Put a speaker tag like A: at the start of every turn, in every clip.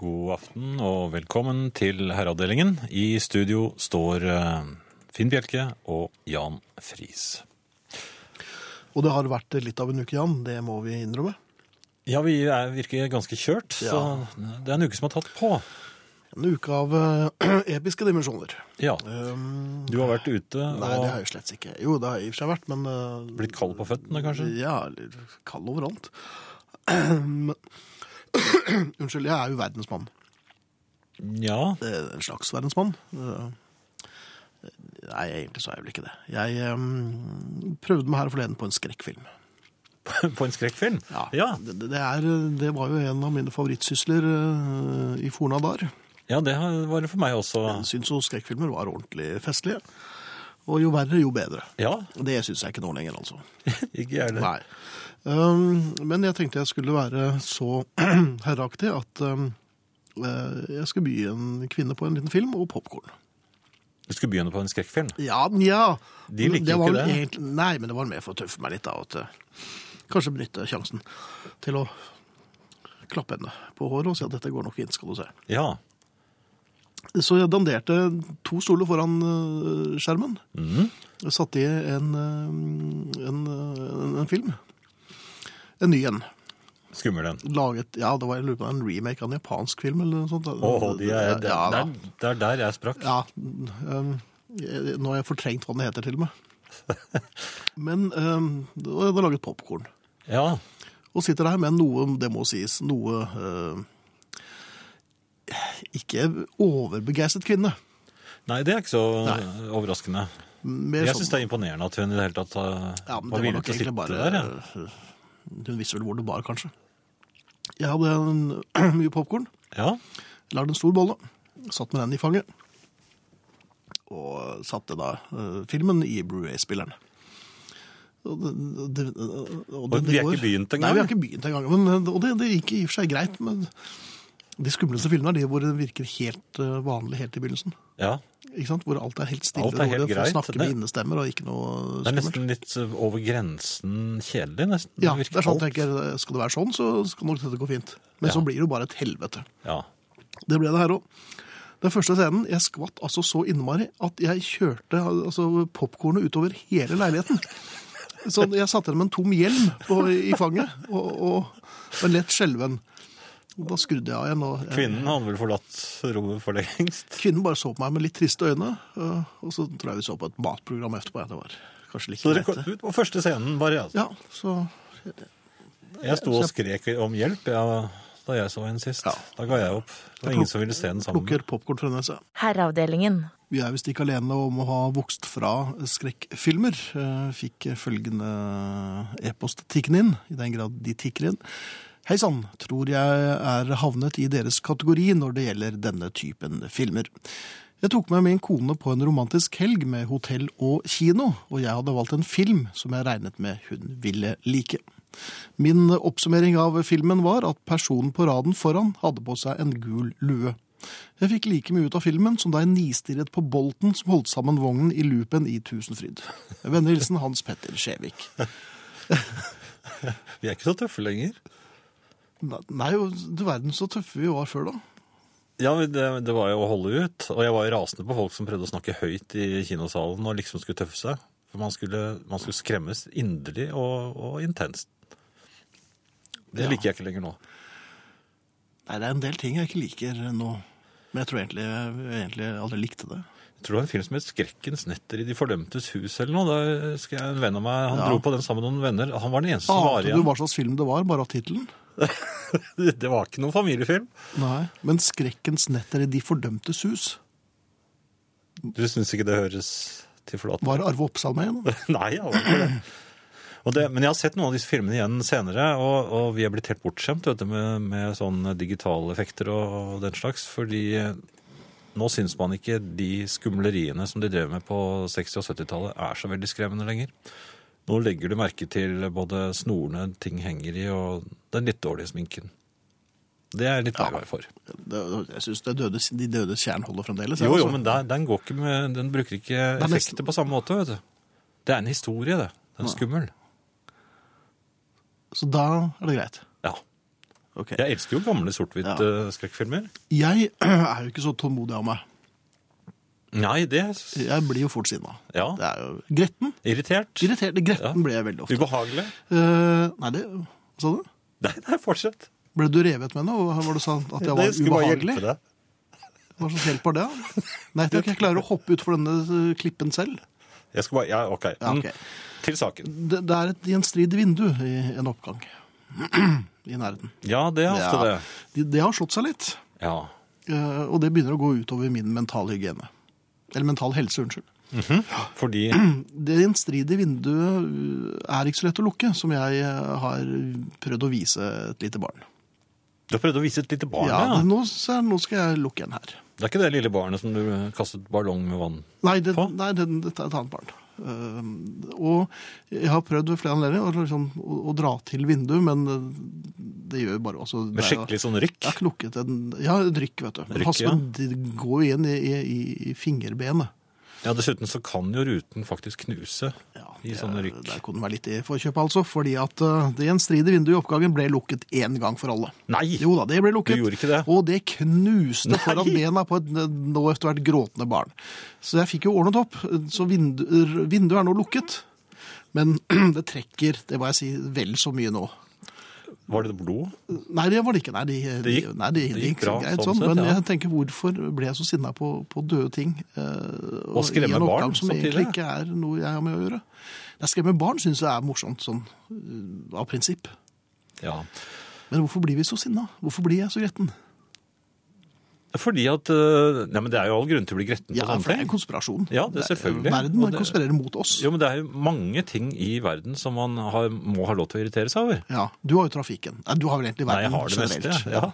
A: God aften og velkommen til Herreavdelingen. I studio står eh, Finn Bjelke og Jan Friis.
B: Og det har vært litt av en uke, Jan. Det må vi innrømme.
A: Ja, vi er, virker ganske kjørt, så det er en uke som har tatt på.
B: En uke av eh, episke dimensjoner.
A: Ja,
B: Um,
A: du har vært ute og
B: nei, det har jeg slett ikke. Jo, det har jeg i og for seg vært, men eh,
A: blitt kald på føttene, kanskje?
B: Ja, eller kald overalt. Men- Unnskyld, jeg er jo verdensmann.
A: Ja,
B: Eh, En slags verdensmann. Eh, Nei, egentlig så er jeg vel ikke det. Jeg eh, prøvde meg her forleden på en skrekkfilm.
A: på en skrekkfilm.
B: Ja,
A: Ja.
B: Det, det, er, det var jo en av mine favorittsysler eh, i forna dager.
A: ja, det har- var det for meg også.
B: Jeg syns jo skrekkfilmer var ordentlig festlige. Og jo verre, jo bedre.
A: Ja,
B: Og Det syns jeg ikke nå lenger, altså.
A: ikke gjerne.
B: Nei. Um, men jeg tenkte jeg skulle være så herreaktig at um, eh, jeg skal by en kvinne på en liten film og popkorn.
A: Du skulle begynne på en skrekkfilm.
B: Ja, nja.
A: De liker
B: var
A: jo ikke
B: vel
A: det.
B: egentlig- nei, men det var mer for å tøffe meg litt, da. At, eh, kanskje benytte sjansen til å klappe henne på håret og si at dette går nok inn, skal du se.
A: Ja.
B: Så jeg danderte to stoler foran eh, skjermen.
A: Mhm.
B: Jeg satte i en, eh, en, eh, en, en film. En ny en.
A: Skummel den.
B: laget Ja, det var jeg lurer på, en remake av en japansk film eller noe sånt.
A: Åh, de er, det,
B: ja, da.
A: er, det er der jeg sprakk.
B: ja, um, jeg- nå har jeg fortrengt hva den heter, til og med. Men um, da har jeg laget popkorn.
A: Ja,
B: Og sitter her med noe, det må sies, noe um, Ikke overbegeistret kvinne.
A: Nei, det er ikke så
B: Nei.
A: overraskende.
B: Mer
A: Jeg
B: sånn-
A: syns det er imponerende at hun i det hele tatt uh,
B: Ja,
A: var
B: men det var
A: villig
B: nok
A: til å sitte
B: egentlig bare
A: der. Ja.
B: Hun visste vel hvor det bar, kanskje. Jeg hadde en, mye popkorn.
A: Ja.
B: lagde en stor bolle, satt med den i fanget, og satte da eh, filmen i Blu-ray-spilleren. Og, det- det- og det-
A: Og vi
B: det
A: har
B: går-
A: ikke begynt engang?
B: Nei, vi har ikke begynt engang. Men, og det, det gikk i og for seg greit, men de skumleste filmene er de hvor det virker helt eh, vanlig helt i begynnelsen.
A: ja.
B: Ikke sant? Hvor alt er helt stille,
A: Alt er helt
B: hvor det får
A: greit,
B: snakke med
A: det-
B: innestemmer og ikke noe
A: Det er
B: skummelt.
A: nesten litt uh, over grensen kjedelig, nesten.
B: Ja, det
A: virker
B: er sånn
A: alt.
B: jeg tenker, skal det være sånn, så skal nok dette gå fint. Men
A: Ja.
B: så blir det jo bare et helvete.
A: Ja.
B: Det ble det her òg. Den første scenen Jeg skvatt altså så innmari at jeg kjørte altså, popkornet utover hele leiligheten. Så jeg satte den med en tom hjelm på, i fanget og, og, og lett skjelven. Og Da skrudde jeg av igjen. Og,
A: Kvinnen hadde vel forlatt rommet for lengst.
B: Kvinnen bare så på meg med litt triste øyne. øh, Og så tror jeg vi så på et matprogram etterpå. Ja, det var kanskje
A: Så
B: like
A: dere kom
B: greit. det.
A: ut på første scenen, bare. Ja.
B: Ja, så
A: Jeg sto og skrek om hjelp ja, da jeg så henne sist.
B: Ja.
A: Da ga jeg opp. Det var
B: Jeg
A: ingen
B: pluk-
A: som ville se den sammen. med meg.
B: plukker popkorn fra nesa.
C: Herreavdelingen.
B: Vi er visst ikke alene om å ha vokst fra skrekkfilmer. Eh, Fikk følgende e-post tikkende inn, i den grad de tikker inn. Hei sann, tror jeg er havnet i deres kategori når det gjelder denne typen filmer. Jeg tok med min kone på en romantisk helg med hotell og kino, og jeg hadde valgt en film som jeg regnet med hun ville like. Min oppsummering av filmen var at personen på raden foran hadde på seg en gul lue. Jeg fikk like mye ut av filmen som da jeg nistirret på bolten som holdt sammen vognen i loopen i Tusenfryd. Vennehilsen Hans Petter Skjevik.
A: Vi er ikke så tøffe lenger.
B: Nei, jo, du verden så tøffe vi var før, da.
A: Ja, men det, det var jo å holde ut. Og jeg var jo rasende på folk som prøvde å snakke høyt i kinosalen og liksom skulle tøffe seg. For man skulle, man skulle skremmes inderlig og, og intenst. Det
B: Ja.
A: liker jeg ikke lenger nå.
B: Nei, det er en del ting jeg ikke liker nå. Men jeg tror egentlig jeg egentlig aldri likte det.
A: Jeg tror det var en film som het 'Skrekkens netter i de fordømtes hus' eller noe. Da husker jeg en venn av meg, han
B: Ja.
A: dro på den sammen med noen venner. Han var den eneste som var
B: Ante du
A: igjen.
B: hva slags film det var, bare av tittelen?
A: Det var ikke noen familiefilm.
B: Nei. Men 'Skrekkens netter i De fordømtes hus'
A: Du syns ikke det høres til forlatt
B: var Arve Oppsal med igjen?
A: Nei, jeg har ikke det. Og det. Men jeg har sett noen av disse filmene igjen senere, og, og vi er blitt helt bortskjemt vet du, med, med sånne digitale effekter og, og den slags. Fordi eh, nå syns man ikke de skumleriene som de drev med på 60- og 70-tallet er så veldig skremmende lenger. Nå legger du merke til både snorene ting henger i, og den litt dårlige sminken. Det er jeg litt lei meg for.
B: Det- Jeg syns De dødes kjern holder fremdeles. jeg,
A: Jo, jo,
B: altså.
A: men der, den, går ikke med, den bruker ikke
B: er nesten-
A: effekter på samme måte, vet du. Det er en historie, det. Den er skummel.
B: Så da er det greit.
A: Ja.
B: Ok.
A: Jeg elsker jo gamle sort-hvitt-skrekkfilmer.
B: Jeg er jo ikke så tålmodig av meg.
A: Nei, det
B: Jeg blir jo fort sinna.
A: Ja.
B: Det er jo gretten.
A: Irritert.
B: Irritert. Gretten
A: Ja.
B: ble jeg veldig ofte.
A: Ubehagelig.
B: Eh, nei, det Hva sa du?
A: Nei, nei, fortsett.
B: Ble du revet med noe? Var det sånn at jeg
A: Nei,
B: var
A: jeg skulle bare
B: ubehagelig?
A: hjelpe deg.
B: Hva slags hjelp var det? da? Nei, jeg tror ikke jeg klarer å hoppe utfor denne eh, klippen selv.
A: Jeg skulle bare, ja, ok.
B: Ja,
A: Mm.
B: ok.
A: Til saken.
B: Det, det er et gjenstridig vindu i en oppgang i nærheten.
A: Ja, det er ofte
B: Ja.
A: det.
B: De, det har slått seg litt,
A: Ja.
B: eh, og det begynner å gå utover min mentale hygiene. Eller mental helse, unnskyld.
A: Mhm. Fordi,
B: Det gjenstridige vinduet eh, er ikke så lett å lukke, som jeg eh, har prøvd å vise et lite barn.
A: du har prøvd å vise et lite barn,
B: Ja,
A: ja.
B: det- nå, så, nå skal jeg lukke en her.
A: Det er ikke det lille barnet som du eh, kastet ballong med vann.
B: Nei, det,
A: På?
B: nei det, dette er et annet barn. Eh, og jeg har prøvd ved flere anledninger å, liksom, å, å dra til vinduet, men eh, det gjør jo bare altså, det
A: Med
B: er jo-
A: skikkelig sånn
B: Jeg har
A: rykk.
B: ikke lukket en Ja, drikk, vet du. Men
A: Drikk,
B: pass på,
A: ja.
B: det går jo inn i, i, i- i fingerbenet.
A: Ja, dessuten så kan jo ruten faktisk knuse
B: Ja,
A: i sånne
B: det-
A: rykk.
B: Der kunne det være litt i forkjøpet, altså. Fordi at eh, det gjenstridige vinduet i oppgangen ble lukket én gang for alle.
A: Nei!
B: Jo da, det ble lukket.
A: Du gjorde ikke det?
B: Og det knuste
A: Nei!
B: foran bena på et nå etter hvert gråtende barn. Så jeg fikk jo ordnet opp. Så vinduer, vinduet er nå lukket. Men det trekker, det må jeg si, vel så mye nå.
A: Var det blod?
B: Nei, det var det ikke. Nei, de,
A: Det gikk-
B: nei, de,
A: det
B: de
A: gikk
B: gikk så
A: bra,
B: greit
A: sånn
B: sånn.
A: sett,
B: men
A: ja.
B: jeg tenker, hvorfor ble jeg så sinna på, på døde ting? eh, og i
A: skremme barn
B: en oppgave Som
A: samtidig?
B: egentlig ikke er noe jeg har med å gjøre. Jeg skremmer barn, syns jeg er morsomt sånn eh, av prinsipp.
A: Ja.
B: Men hvorfor blir vi så sinna? Hvorfor blir jeg så gretten?
A: Fordi at eh, Nei, men det er jo all grunn til å bli gretten på
B: Ja,
A: sånne
B: for det er en
A: ting.
B: konspirasjon.
A: Ja, det er selvfølgelig.
B: Verden
A: Og det-
B: konspirerer mot oss.
A: Jo, men det er jo mange ting i verden som man har, må ha lov til å irritere seg over.
B: Ja, Du har jo trafikken. Nei, Du har vel egentlig
A: Nei, jeg
B: verden
A: har det
B: generelt.
A: meste. Ja.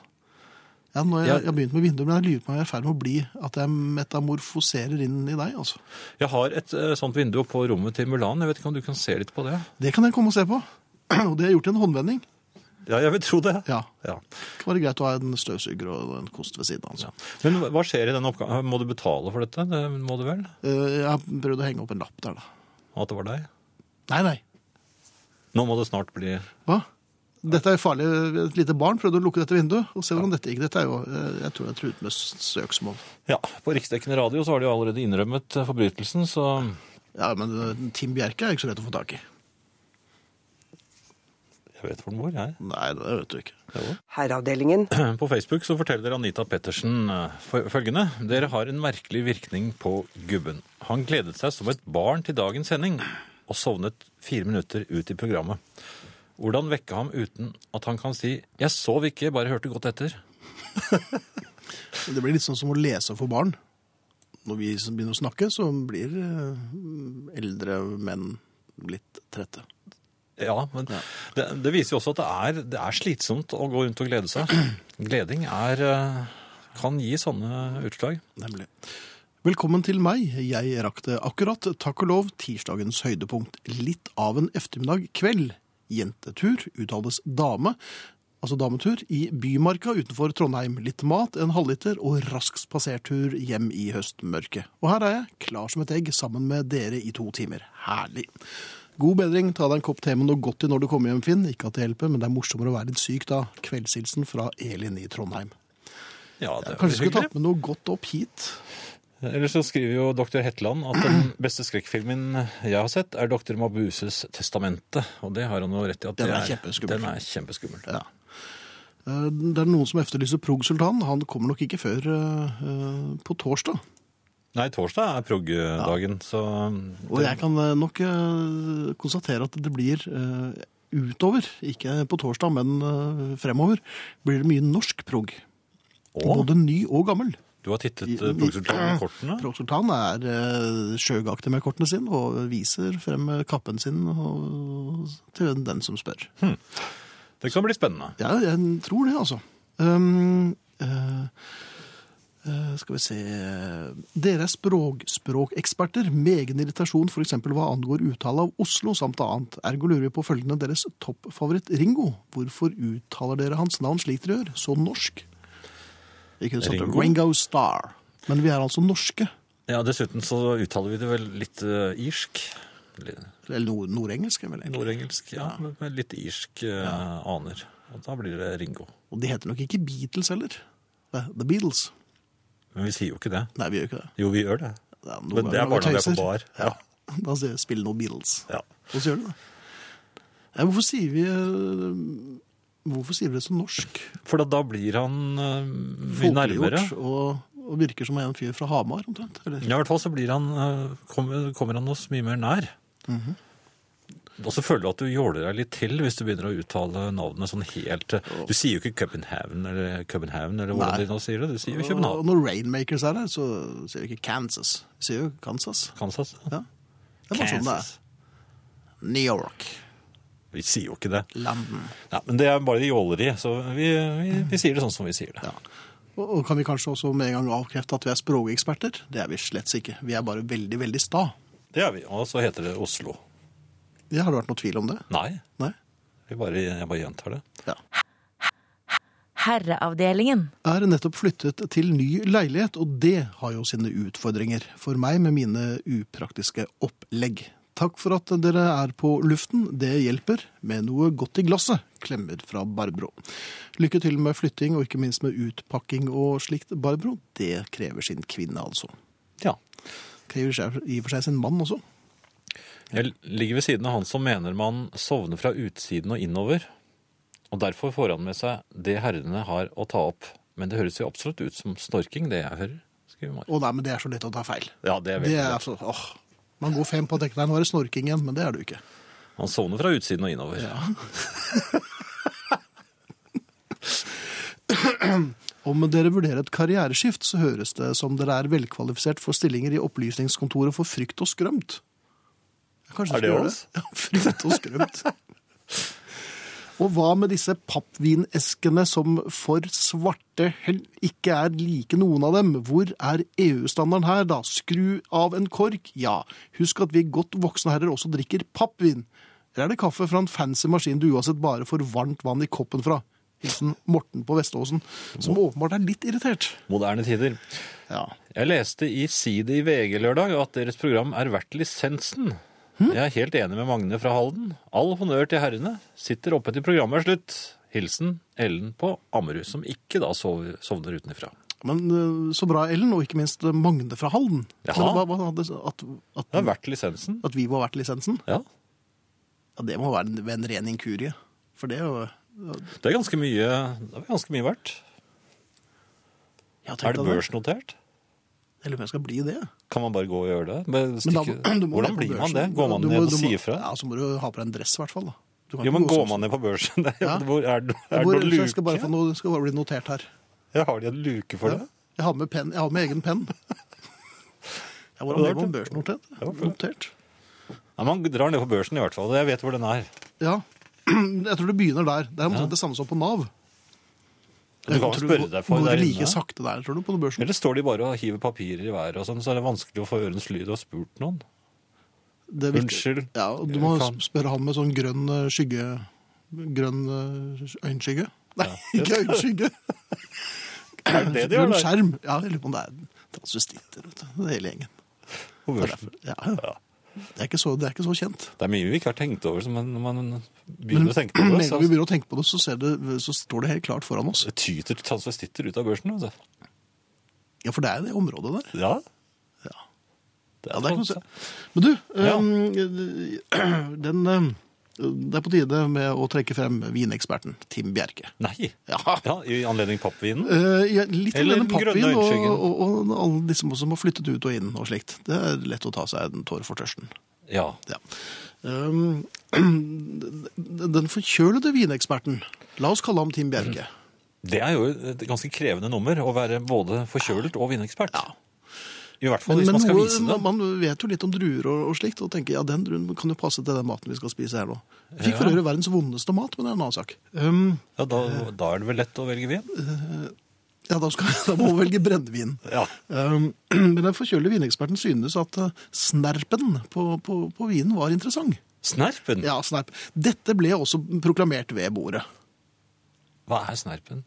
B: Ja, når jeg,
A: Ja.
B: jeg har begynt med vinduet, men jeg lurer på om jeg er i ferd med å bli at jeg metamorfoserer inn i deg. altså.
A: Jeg har et eh, sånt vindu på rommet til Mulan. Jeg vet ikke om du kan se litt på det?
B: Det kan jeg komme og se på. Og det har jeg gjort i en håndvending.
A: Ja, jeg vil tro det.
B: Ja,
A: Ja.
B: Det kan være greit å ha en støvsuger og en kost ved siden av. Altså.
A: Men hva skjer i den oppgaven? Må du betale for dette? Det må du vel?
B: Eh, Jeg har prøvd å henge opp en lapp der, da.
A: At det var deg?
B: Nei, nei.
A: Nå må det snart bli
B: Hva? Dette er jo farlig. Et lite barn prøvde å lukke dette vinduet, og se hvordan dette gikk. Dette er jo, eh, jeg tror jeg truet med søksmål.
A: Ja, på riksdekkende radio så har de jo allerede innrømmet eh, forbrytelsen, så
B: Ja, men eh, Tim Bjerke er ikke så lett å få tak i.
A: jeg vet hvor den bor, jeg.
B: Nei, det vet du ikke.
C: Herreavdelingen.
A: På Facebook så forteller Anita Pettersen eh, for- følgende. Dere har en merkelig virkning på gubben. Han gledet seg som et barn til dagens sending, og sovnet fire minutter ut i programmet. Hvordan vekke ham uten at han kan si 'jeg sov ikke, bare hørte godt etter'?
B: Det blir litt sånn som å lese for barn. Når vi som begynner å snakke, så blir eh, eldre menn litt trette.
A: Ja, men Det, det viser jo også at det er, det er slitsomt å gå rundt og glede seg. Gleding er, eh, kan gi sånne utslag.
B: Nemlig. Velkommen til meg. Jeg rakk det akkurat, takk og lov, tirsdagens høydepunkt. Litt av en eftermiddag kveld. Jentetur, uttales dame, altså dametur, i Bymarka utenfor Trondheim. Litt mat, en halvliter og rask spasertur hjem i høstmørket. Og her er jeg, klar som et egg, sammen med dere i to timer. Herlig. God bedring, ta deg en kopp te med noe godt til når du kommer hjem, Finn. Ikke at det hjelper, men det er morsommere å være litt syk da. Kveldshilsen fra Elin i Trondheim.
A: Ja, det er
B: Kanskje du
A: hyggelig.
B: skulle tatt med noe godt opp hit?
A: Eller så skriver jo dr. Hetland at den beste skrekkfilmen jeg har sett, er dr. Mabuses Testamente. Og det har han jo rett i. at
B: Den
A: det
B: er kjempeskummel.
A: Den er kjempeskummel.
B: Ja. Eh, Det er noen som efterlyser Prog-sultan. Han kommer nok ikke før eh, eh, på torsdag.
A: Nei, torsdag er prog-dagen, så
B: Og jeg kan eh, nok eh, konstatere at det blir eh, utover, ikke på torsdag, men eh, fremover, blir det mye norsk prog.
A: Å,
B: Både ny og gammel.
A: du har tittet eh, prog-sultanen i kortene?
B: Prog-sultan er eh, sjøgaktig med kortene sine og viser frem kappen sin og, til den som spør.
A: Det kan bli spennende.
B: Ja, jeg tror det, altså. Um, eh, eh, skal vi se Dere er språk, språkeksperter med egen irritasjon f.eks. hva angår uttale av Oslo samt annet. Ergo lurer vi på følgende deres toppfavoritt Ringo. Hvorfor uttaler dere hans navn slik dere gjør? Så norsk. Vi kunne sagt
A: Ringo?
B: Ringo Star. Men vi er altså norske.
A: Ja, Dessuten så uttaler vi det vel litt eh, irsk. Litt
B: Eller nord nordengelsk, er vel egentlig.
A: Nordengelsk, ja. Med litt irsk eh, aner. Og da blir det Ringo.
B: Og de heter nok ikke Beatles heller. The The Beatles.
A: Men vi sier jo ikke det.
B: Nei, vi gjør ikke det.
A: Jo, vi gjør det.
B: det er noen
A: Men det er
B: ganger
A: bare når vi er
B: tøyser.
A: på bar.
B: Ja. Da sier jeg 'spill noe Beatles'.
A: Ja.
B: Og så gjør du det. Ja, hvorfor sier vi eh, Hvorfor sier vi det som norsk?
A: For da, da blir han eh, mye nærmere.
B: Folkeliggjort og, og virker som en fyr fra Hamar, omtrent. Eller?
A: Ja, i hvert fall så blir han, eh, kommer, kommer han oss mye mer nær.
B: Mhm.
A: Og så føler du at du jåler deg litt til hvis du begynner å uttale navnet sånn helt eh, Du sier jo ikke København eller København eller hvordan de
B: Nei.
A: nå sier det. Du sier jo
B: Og
A: København.
B: når Rainmakers er her, så sier vi ikke Kansas. Vi sier jo Kansas.
A: Kansas.
B: Ja. Det var sånn det er.
A: Kansas.
B: New York.
A: Vi sier jo ikke det.
B: London.
A: Nei, men det er bare jåleri, så vi, vi, vi sier det sånn som vi sier det.
B: Ja. Og, og kan vi kanskje også med en gang avkrefte at vi er språkeksperter? Det er vi slett ikke. Vi er bare veldig, veldig sta.
A: Det er vi. Og så heter det Oslo.
B: Ja, har det vært noe tvil om det?
A: Nei,
B: Nei?
A: vi bare, jeg bare gjentar det.
B: Ja.
C: Herreavdelingen.
B: er nettopp flyttet til ny leilighet, og det har jo sine utfordringer for meg med mine upraktiske opplegg. Takk for at dere er på luften, det hjelper, med noe godt i glasset, klemmer fra Barbro. Lykke til med flytting, og ikke minst med utpakking og slikt, Barbro. Det krever sin kvinne, altså.
A: Ja.
B: Krever seg- i og for seg sin mann også.
A: Jeg ligger ved siden av han som mener man sovner fra utsiden og innover. Og derfor får han med seg det herrene har å ta opp. Men det høres jo absolutt ut som snorking, det jeg hører. skriver Mari.
B: Å nei, men det er så lett å ta feil.
A: Ja, det er
B: Det
A: veldig
B: er
A: bra.
B: altså, åh. Man går fem på dekket, nei, nå er det snorking igjen, men det er det jo ikke.
A: Han sovner fra utsiden og innover.
B: Om dere vurderer et karriereskift, så høres det som dere er velkvalifisert for stillinger i Opplysningskontoret for frykt og skrømt. Kanskje
A: Er
B: du
A: det
B: skal gjøre
A: oss?
B: Ja, frykt og skrømt. og hva med disse pappvineskene som for svarte hell ikke er like noen av dem? Hvor er EU-standarden her, da? Skru av en kork? Ja. Husk at vi godt voksne herrer også drikker pappvin. Eller er det kaffe fra en fancy maskin du uansett bare får varmt vann i koppen fra? Hilsen Morten på Veståsen, som åpenbart er litt irritert.
A: Moderne tider.
B: Ja.
A: Jeg leste i Side i VG lørdag at deres program er verdt lisensen.
B: Hm?
A: Jeg er helt enig med Magne fra Halden. All honnør til herrene. Sitter oppe til programmet er slutt. Hilsen Ellen på Ammerud, som ikke da sover, sovner utenfra.
B: Men eh, så bra, Ellen, og ikke minst eh, Magne fra Halden.
A: Jaha.
B: Men hva- hva hadde- At,
A: Det er
B: at,
A: verdt lisensen.
B: at vi må ha vært lisensen?
A: Ja.
B: Ja, det må være en, ved en ren inkurie. For det er jo
A: Det er ganske mye, det er ganske mye verdt.
B: jeg har tenkt
A: Er det
B: at
A: børsnotert?
B: Jeg lurer på om jeg skal bli det.
A: Kan man bare gå og gjøre det? Men
B: Men da-
A: stikke-
B: du må
A: Hvordan
B: være på
A: blir man
B: børsen.
A: det? Går man
B: Du må-
A: ned og
B: du må-
A: sier fra?
B: Ja, Så må du ha på deg en dress, i hvert fall. da. Du kan
A: Jo,
B: ikke
A: men
B: gå
A: går
B: som-
A: man ned på børsen? Det er-
B: Ja.
A: Hvor er det er det
B: Hvor,
A: noen
B: ellers, jeg skal bare, få
A: luke?
B: noe, skal bare bli notert her.
A: Ja, har de en luke for det?
B: Jeg har med, penn- jeg har med egen penn. Ja, hvordan
A: Ja, det
B: blir
A: var
B: man
A: det.
B: børsnotert?
A: Ja, for-
B: Notert.
A: Nei, man drar ned på børsen i hvert fall. Jeg vet hvor den er.
B: Ja. Jeg tror det begynner der. Det er omtrent det samme som på Nav.
A: Du kan jo spørre deg for
B: Går
A: der
B: det like
A: inne.
B: sakte der, tror du, på børsen?
A: Eller står de bare og hiver papirer i været og sånn, så er det vanskelig å få ørens lyd og spurt noen?
B: Det er viktig.
A: Unnskyld.
B: Ja, og du må
A: Kan-
B: spørre han med sånn grønn eh, skygge Grønn eh, øyenskygge? Nei, ikke øyenskygge!
A: Er det de gjør
B: grønn
A: der?
B: skjerm. Ja, jeg lurer på om det er transvestitter, vet du. Det er hele gjengen.
A: På
B: Det er,
A: børsen.
B: derfor. ja. ja. det, er ikke så, det er ikke så kjent.
A: Det er mye vi ikke har tenkt over, så man, når man
B: Men
A: begynner å
B: med en
A: tenke på det. altså.
B: gang vi
A: Så
B: begynner å tenke på det, så, ser det, så står det helt klart foran oss.
A: det tyter transvestitter ut av børsen. Altså.
B: Ja, for det er det området der.
A: Ja. sånn
B: Ja.
A: Det
B: Ja,
A: er
B: det er
A: trans-
B: kanskje... Sånn, Men du,
A: Ja.
B: øhm, den, øhm, det er på tide med å trekke frem vineksperten Tim Bjerke.
A: Nei.
B: Ja.
A: Ja, I anledning pappvinen.
B: Eh, ja, litt
A: Eller
B: Eller den
A: den grønne
B: pappvin og,
A: øyenskyggen.
B: og, og alle disse som har flyttet ut og inn og slikt. Det er lett å ta seg en tår for tørsten.
A: Ja.
B: Ja. Øhm, den den forkjølede vineksperten, la oss kalle ham
A: Mm.
B: Tim Bjerke.
A: Det er jo et ganske krevende nummer å være både forkjølet og vinekspert.
B: Ja.
A: I hvert fall
B: Men,
A: hvis
B: men
A: man skal
B: noe,
A: vise
B: man,
A: det.
B: man vet jo litt om druer og, og slikt, og tenker ja, den druen kan jo passe til den maten vi skal spise her nå. Jeg Fikk for
A: Ja.
B: øvrig verdens vondeste mat, men det er en annen sak. Ehm, Øhm,
A: Ja, da, da er det vel lett å velge vin?
B: ja, da, skal, da må vi velge brennevin.
A: Ja.
B: Øhm, men den forkjølede vineksperten synes at eh, snerpen på, på, på vinen var interessant.
A: Snerpen?
B: Ja, snerp. Dette ble også proklamert ved bordet.
A: Hva er snerpen?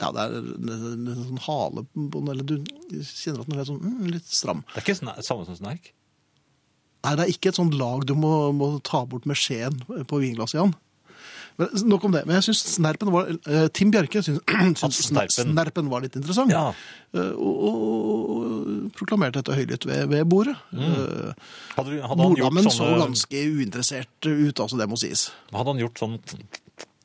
B: Ja, det er en, en, en sånn hale på den, eller du kjenner at den er sånn mm, litt stram.
A: Det er ikke sner, samme som snerk?
B: Nei, det er ikke et sånt lag du må, må ta bort med skjeen på vinglasset, Jan. Men, nok om det. Men jeg syns Snerpen var eh, Tim Bjerke syns
A: Snerpen-
B: snerpen. snerpen var litt interessant.
A: Ja.
B: Eh, og, og, og proklamerte dette høylytt ved, ved bordet. Mm.
A: Hadde, du- hadde, han gjort
B: Norddammen så
A: sånne,
B: ganske uinteressert ut, altså det må sies.
A: hadde han gjort sånn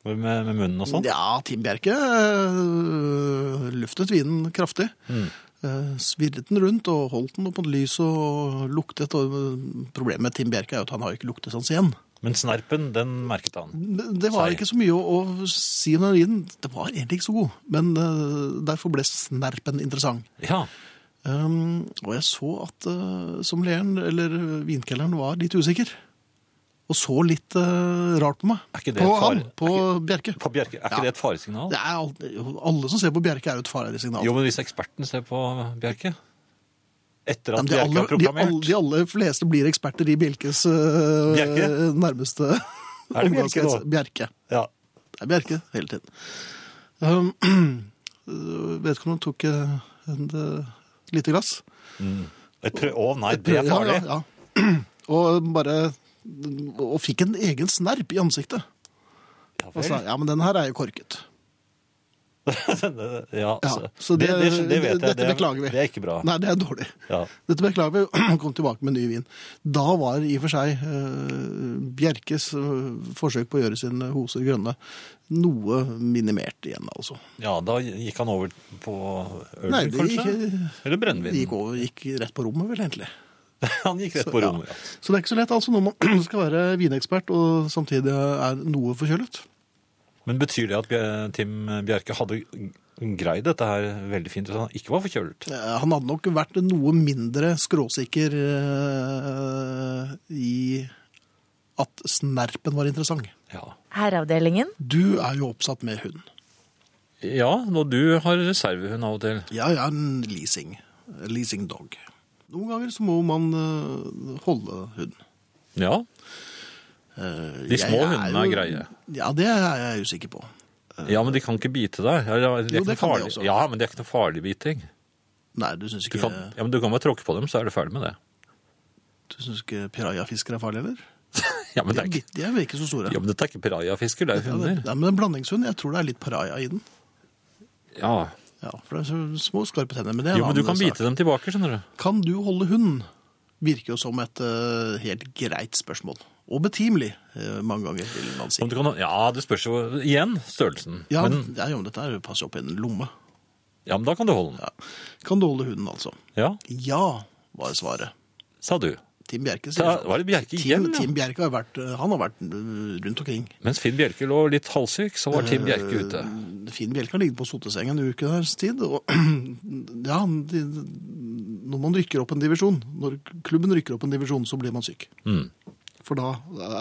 A: med, med munnen og sånn?
B: Ja, Tim Bjerke eh, luftet vinen kraftig.
A: Mm.
B: Eh, Svirret den rundt og holdt den opp mot lyset og luktet. Og eh, problemet med Tim Bjerke er jo at han har jo ikke sånn luktesans igjen.
A: Men snerpen, den merket han.
B: Det det var
A: Sei.
B: ikke så mye å, å si om den vinen. Det var egentlig ikke så god, men eh, derfor ble snerpen interessant.
A: Ja.
B: Um, og jeg så at uh, sommelieren, eller vinkelleren, var litt usikker. Og så litt eh, rart på meg.
A: Er ikke det
B: på
A: et far-
B: han, på Bjerke.
A: På Bjerke, er ikke
B: Ja.
A: det et faresignal?
B: Det er alt, jo, alle som ser på Bjerke, er jo et farlig signal.
A: Jo, men hvis eksperten ser på Bjerke Etter
B: Ja,
A: at
B: men de,
A: Bjerke har
B: aller, de,
A: proklamert
B: aller, de aller fleste blir eksperter i Bjelkes øh,
A: Bjerke?
B: nærmeste
A: Er det Bjerke
B: omgangskrets.
A: nå?
B: Bjerke.
A: ja.
B: Det er Bjerke hele tiden. Um, øh, vet ikke om han tok øh, en, øh, lite glass.
A: Et prø- Å nei, det er
B: Ja,
A: farlig.
B: Ja, ja. Og bare og fikk en egen snerp i ansiktet.
A: Ja,
B: Og sa
A: vel.
B: ja, men den her er jo korket.
A: Ja, altså,
B: så
A: det,
B: det-
A: det, det vet jeg.
B: dette
A: det, er-
B: beklager vi.
A: Det er ikke bra.
B: Nei, det er dårlig.
A: Ja.
B: Dette beklager vi, og kom tilbake med ny vin. Da var i og for seg eh, Bjerkes eh, forsøk på å gjøre sine hoser grønne noe minimert igjen, altså.
A: ja, da gikk han over på øl,
B: Nei, det
A: kanskje?
B: gikk-
A: Eller
B: Det
A: brennevin.
B: gikk, over, gikk rett på rommet, vel, egentlig.
A: Han gikk rett
B: Så,
A: på
B: ja.
A: rommet. Ja.
B: Så det er ikke så lett, altså, når man skal være vinekspert og samtidig er noe forkjølet.
A: Men betyr det at Bjer- Tim Bjerke hadde greid dette her veldig fint, og han ikke var forkjølet?
B: Eh, Han hadde nok vært noe mindre skråsikker eh, i at snerpen var interessant.
A: Ja.
C: Herreavdelingen.
B: Du er jo oppsatt med hund.
A: ja, og du har reservehund av og til.
B: Ja, jeg er en leasing. Leasing dog. Noen ganger så må man eh, holde hund.
A: Ja.
B: Eh,
A: De
B: jeg
A: små hundene er greie.
B: Ja, det er jeg usikker på.
A: Ja, men de kan ikke bite deg. Ja, ja, de er ikke
B: Jo, det
A: noe
B: kan de
A: farlig-
B: også.
A: Ja, men det er ikke noe farlig biting.
B: Nei, du
A: Du
B: syns ikke,
A: kan, ja, men du kan bare tråkke på dem, så er du ferdig med det.
B: du syns ikke pirajafisker er farlige, eller?
A: Ja, men
B: De
A: det
B: er,
A: er ikke,
B: litt- de er vel ikke så store.
A: ja, men dette er ikke pirajafisker, det er
B: Ja, det,
A: hunder.
B: det er men en blandingshund. Jeg tror det er litt piraja i den.
A: Ja,
B: Ja, For det er så små, skarpe tenner. Men det er en
A: jo, men du
B: annen
A: kan
B: sak.
A: bite dem tilbake, skjønner du.
B: Kan du holde hund? Virker jo som et eh, helt greit spørsmål. Og betimelig, eh, mange ganger, vil man si.
A: Om du kan, ja, det spørs jo igjen størrelsen.
B: Ja,
A: Men,
B: ja, jo, men dette er jo passe opp i en lomme.
A: ja, men da kan du holde den.
B: Ja. Kan du holde hunden, altså?
A: Ja,
B: Ja, var svaret.
A: sa du.
B: Tim Bjerke sier
A: Da
B: sånn.
A: var det Bjerke
B: Tim,
A: igjen, ja.
B: Tim Bjerke har vært, eh, han har vært eh, rundt omkring.
A: Mens Finn Bjerke lå litt halvsyk, så var Tim Bjerke ute.
B: Eh, Finn Bjelke har ligget på sotesengen en uke deres tid. Og, ja, de, når man rykker opp en divisjon, når klubben rykker opp en divisjon, så blir man syk.
A: Mm.
B: For da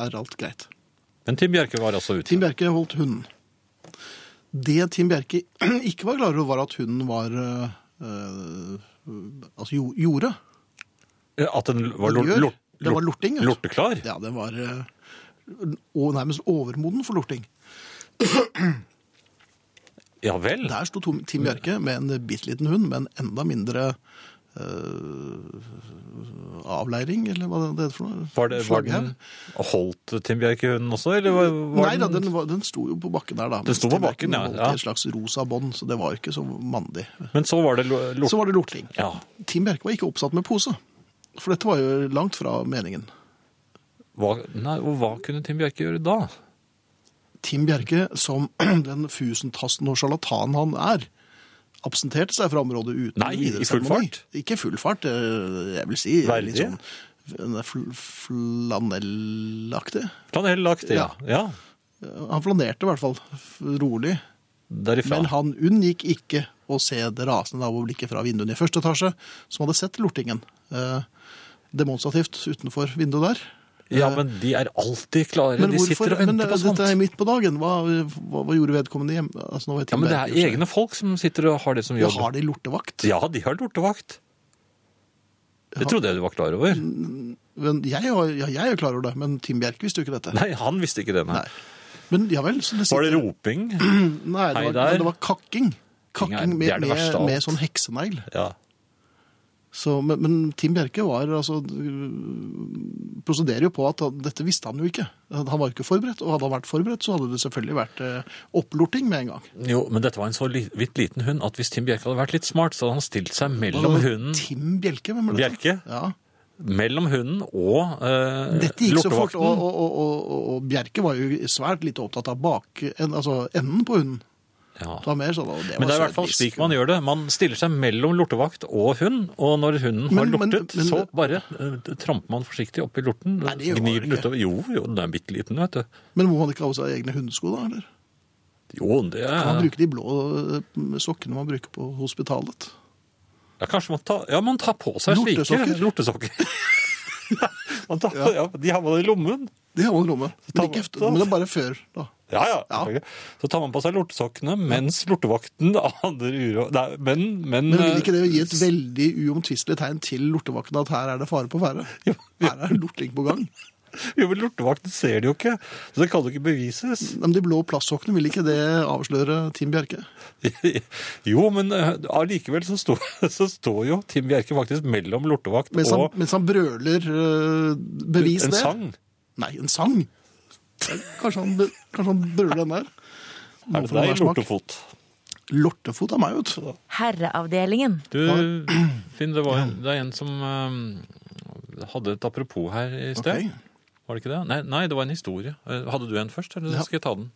B: er alt greit.
A: Men Tim Bjerke var altså ute.
B: Tim Bjerke holdt hunden. Det Tim Bjerke ikke var klar over, var at hunden var eh, eh, Altså jo- gjorde.
A: Eh, At den var,
B: Den
A: lort,
B: gjør.
A: lort,
B: Det var lorting, vet du.
A: lorteklar?
B: Ja, den var eh, og nærmest overmoden for lorting.
A: Ja vel.
B: Der sto Tom- Tim Bjerke med en bitte liten hund med en enda mindre eh, avleiring, eller hva det heter for noe?
A: Var, det, var den
B: Slagghev.
A: holdt Tim Bjerke hunden også, eller var, var
B: Nei da, den, var, den sto jo på bakken der, da. mens
A: sto på
B: Tim Bjerke
A: bakken, ja,
B: holdt i
A: ja.
B: Et slags rosa bånd, så det var jo ikke så mandig.
A: Men så var det lo- lort...
B: Så var det lorting.
A: Ja.
B: Tim Bjerke var ikke oppsatt med pose. For dette var jo langt fra meningen.
A: Hva, nei, og hva kunne Tim Bjerke gjøre da?
B: Tim Bjerke, som den fusentasten og sjarlatan han er, absenterte seg fra området uten
A: Nei, i full
B: seremoni.
A: fart?
B: Ikke full fart, eh, jeg vil si.
A: Verdig.
B: Litt sånn en fl flanellaktig.
A: Flanellaktig, ja. ja.
B: Han flanerte i hvert fall f- rolig.
A: Derifra.
B: Men han unngikk ikke å se det rasende naboblikket fra vinduene i første etasje, som hadde sett lortingen eh, demonstrativt utenfor vinduet der.
A: ja, men de er alltid klare.
B: eh, Men
A: de
B: hvorfor,
A: sitter og venter
B: men, eh,
A: på sånt.
B: Dette er midt på dagen. Hva, hva, hva gjorde vedkommende hjemme? Altså, nå var jeg
A: Ja, men det
B: Timberg,
A: er egne folk som sitter og har det som
B: Ja,
A: jobb.
B: har de lortevakt?
A: Ja, de har lortevakt. Det trodde jeg du var klar over.
B: Mm. Men jeg, har- ja, jeg er klar over det, men Tim Bjerke visste jo ikke dette.
A: Nei, han visste ikke det. Nei.
B: Nei. Men ja vel. Så det
A: Var
B: sitter,
A: det roping?
B: nei, det
A: Hei
B: var,
A: der.
B: nei, det var
A: Kakking
B: kakking.
A: er-
B: Kakking
A: det er
B: med,
A: det verste av
B: med,
A: alt.
B: med sånn heksenegl.
A: Ja.
B: Så, men, men Tim Bjerke var altså øh, prosederer jo på at han- dette visste han jo ikke. Han var jo ikke forberedt, og hadde han vært forberedt, så hadde det selvfølgelig vært eh, opplorting med en gang.
A: Jo, men dette var en så li- vidt liten hund at hvis Tim Bjerke hadde vært litt smart, så hadde han stilt seg mellom
B: Hva da?
A: hunden,
B: Tim Bjelke, hvem er dette?
A: Bjerke
B: Ja.
A: mellom hunden og eh,
B: Dette gikk så fort,
A: lortevakten.
B: og, og, og, og, og Bjerke var jo svært lite opptatt av bak, en, altså enden på hunden.
A: Ja.
B: Det var mer sånn, og det var
A: Men det er i
B: så
A: hvert fall
B: litt-
A: slik man gjør det. Man stiller seg mellom lortevakt og hund, og når hunden har
B: Men- men-
A: lortet,
B: men-
A: så bare eh, tramper man forsiktig oppi lorten.
B: Nei, det gjør man
A: gnir den
B: ikke.
A: utover. Jo, jo, den er bitte liten, vet du.
B: Men må man ikke ha på seg egne hundesko, da? eller?
A: Jo, det
B: Kan man
A: er
B: bruke de blå eh, sokkene man bruker på hospitalet?
A: ja, Kanskje man tar Ja, man tar på seg slike
B: Lortesokker.
A: lortesokker. man tar, ja. de har man i lommen.
B: Det har man i rommet.
A: Ta
B: Men, ikke
A: bort,
B: efter,
A: da.
B: men det er bare før, da.
A: Ja, ja.
B: Ja.
A: selvfølgelig. Så tar man på seg lortesokkene mens lortevakten aner uro Nei, men, men,
B: Men vil ikke det gi et veldig uomtvistelig tegn til lortevakten at her er det fare på ferde? Her er lorting på gang.
A: eh, Jo, men lortevakten ser det jo ikke. Så det kan jo ikke bevises.
B: Men de blå plastsokkene, vil ikke det avsløre Tim Bjerke?
A: Jo, men eh, allikevel så, står- så står jo Tim Bjerke faktisk mellom lortevakt
B: Mens han,
A: og
B: mens han brøler eh, bevis
A: en
B: det?
A: sang.
B: Nei, en sang? Kanskje han, kanskje han brøler den der? Må
A: Er det
B: få hver
A: deg,
B: smak.
A: lortefot?
B: Lortefot er meg, vet du.
C: Herreavdelingen.
A: Du, Finn, det, var, det er en som eh, hadde et apropos her i sted.
B: Ok.
A: Var det ikke det? Nei, nei, det var en historie. Eh, Hadde du en først, eller
B: Ja.
A: skal jeg ta den?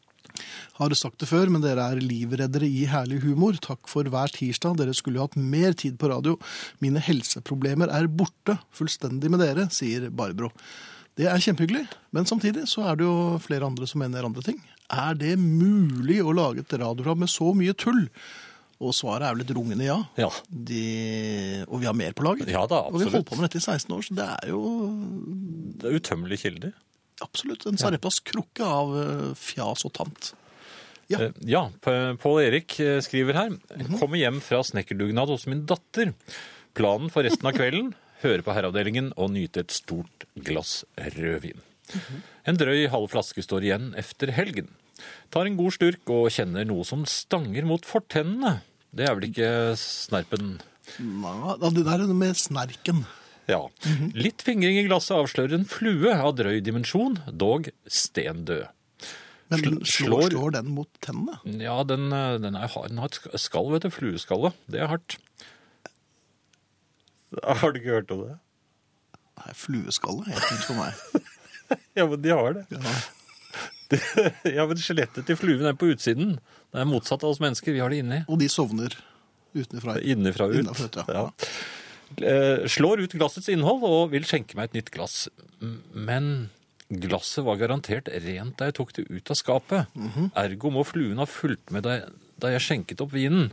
B: Har sagt det før, men dere er livreddere i herlig humor. Takk for hver tirsdag. Dere skulle jo hatt mer tid på radio. Mine helseproblemer er borte fullstendig med dere, sier Barbro. Det er kjempehyggelig, men samtidig så er det jo flere andre som mener andre ting. Er det mulig å lage et radioprogram med så mye tull? Og svaret er vel et rungende ja.
A: Ja.
B: De, og vi har mer på lager.
A: Ja da,
B: og vi har
A: absolutt.
B: holdt på med dette i 16 år, så det er jo
A: Det er utømmelige kilder.
B: absolutt en Sareptas krukke av eh, fjas og tant. Ja.
A: Eh, Ja, P- Pål Erik eh, skriver her. Kommer hjem fra snekkerdugnad hos min datter. Planen for resten av kvelden? Høre på Herreavdelingen og nyte et stort glass rødvin. En drøy halv flaske står igjen efter helgen. Tar en god sturk og kjenner noe som stanger mot fortennene. Det er vel ikke snerpen
B: Nei, da, det der er noe med snerken.
A: Ja. Litt fingring i glasset avslører en flue av drøy dimensjon, dog stendød.
B: Men
A: Sl-
B: den slår,
A: slår-
B: slår den mot tennene?
A: Ja, den, eh, den er hard. Den har et sk- skall, vet du. Flueskalle. Det er hardt. Har du ikke hørt om det?
B: Nei, flueskalle. Helt nytt for meg.
A: Ja, men de har det.
B: Ja.
A: Ja, men Skjelettet til fluen er på utsiden. Det er motsatt av oss mennesker. Vi har det inni.
B: Og de sovner utenfra.
A: Innenfra og ut.
B: Innenfra og ut, ja.
A: Eh, Slår ut glassets innhold og vil skjenke meg et nytt glass. M- Men glasset var garantert rent da jeg tok det ut av skapet.
B: Mhm.
A: Ergo må fluen ha fulgt med da jeg, da jeg skjenket opp vinen.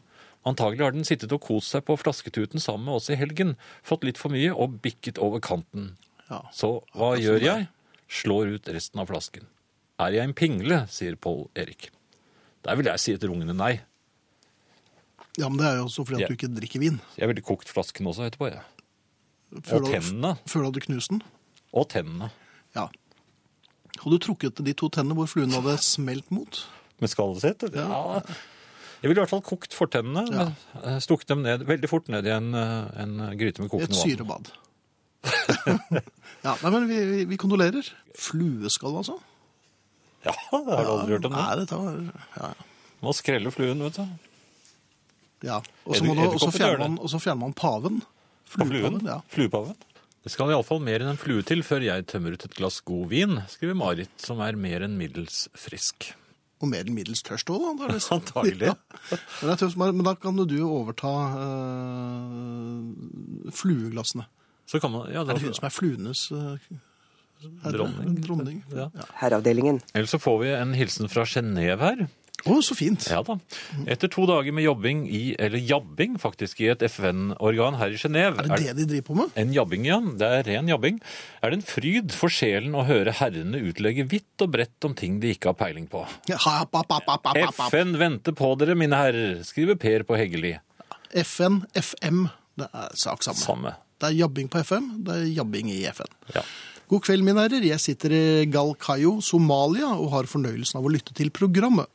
A: Antagelig har den sittet og kost seg på flasketuten sammen med oss i helgen, fått litt for mye og bikket over kanten.
B: Ja.
A: Så hva gjør jeg? Slår ut resten av flasken. Er jeg en pingle? sier Pål Erik. Der vil jeg si et rungende nei.
B: ja, men det er jo også fordi at
A: Ja.
B: du ikke drikker vin.
A: Jeg ville kokt flasken også etterpå. jeg.
B: Før
A: Og
B: du-
A: tennene.
B: Før du hadde knust den.
A: Og tennene.
B: Ja. Hadde du trukket de to tennene hvor fluen hadde smelt mot?
A: Med skallet sitt? Ja. Jeg ville i hvert fall kokt fortennene. men eh, Stukket dem ned, veldig fort ned i en, eh, en gryte med
B: Et
A: kokende vann.
B: syrebad. ja, nei, men vi, vi, vi kondolerer. Flueskalle, altså?
A: Ja, det har du aldri hørt om. det.
B: Nei, dette var... Ja, ja.
A: Man skreller fluen, vet du.
B: ja. Og så
A: Edder-
B: må du- og så
A: edderkoppen gjør
B: fjerner
A: det.
B: man- og så fjerner man paven.
A: På fluen.
B: Ja.
A: Fluepaven. Det skal iallfall mer enn en flue til før jeg tømmer ut et glass god vin, skriver Marit, som er mer enn middels frisk.
B: Og mer enn middels tørst òg, antakeligvis.
A: Antagelig.
B: Ja. Men, det er tøft, men da kan jo du overta øh, flueglassene.
A: Så kan man, ja,
B: Er
A: da,
B: det hun som er fluenes øh, herre?
A: Dronning.
B: dronning?
A: Ja.
D: Herreavdelingen.
A: Ellers så får vi en hilsen fra Genéve her.
B: Å, så fint!
A: Ja da.
B: Mm.
A: Etter to dager med jobbing i, eller jabbing faktisk, i et FN-organ her i Genéve
B: Er det det de driver på med?
A: En jabbing, ja. Det er ren jabbing. Er det en fryd for sjelen å høre herrene utlegge vidt og bredt om ting de ikke har peiling på?
B: Ja, hap, hap, hap, hap, hap, hap, hap.
A: FN venter på dere, mine herrer, skriver Per på Heggeli.
B: FN, FM. Det er sak samme.
A: Samme.
B: Det er jabbing på FM, det er jabbing i FN.
A: Ja.
B: God kveld, mine herrer. Jeg sitter i Galkayo, Somalia, og har fornøyelsen av å lytte til programmet.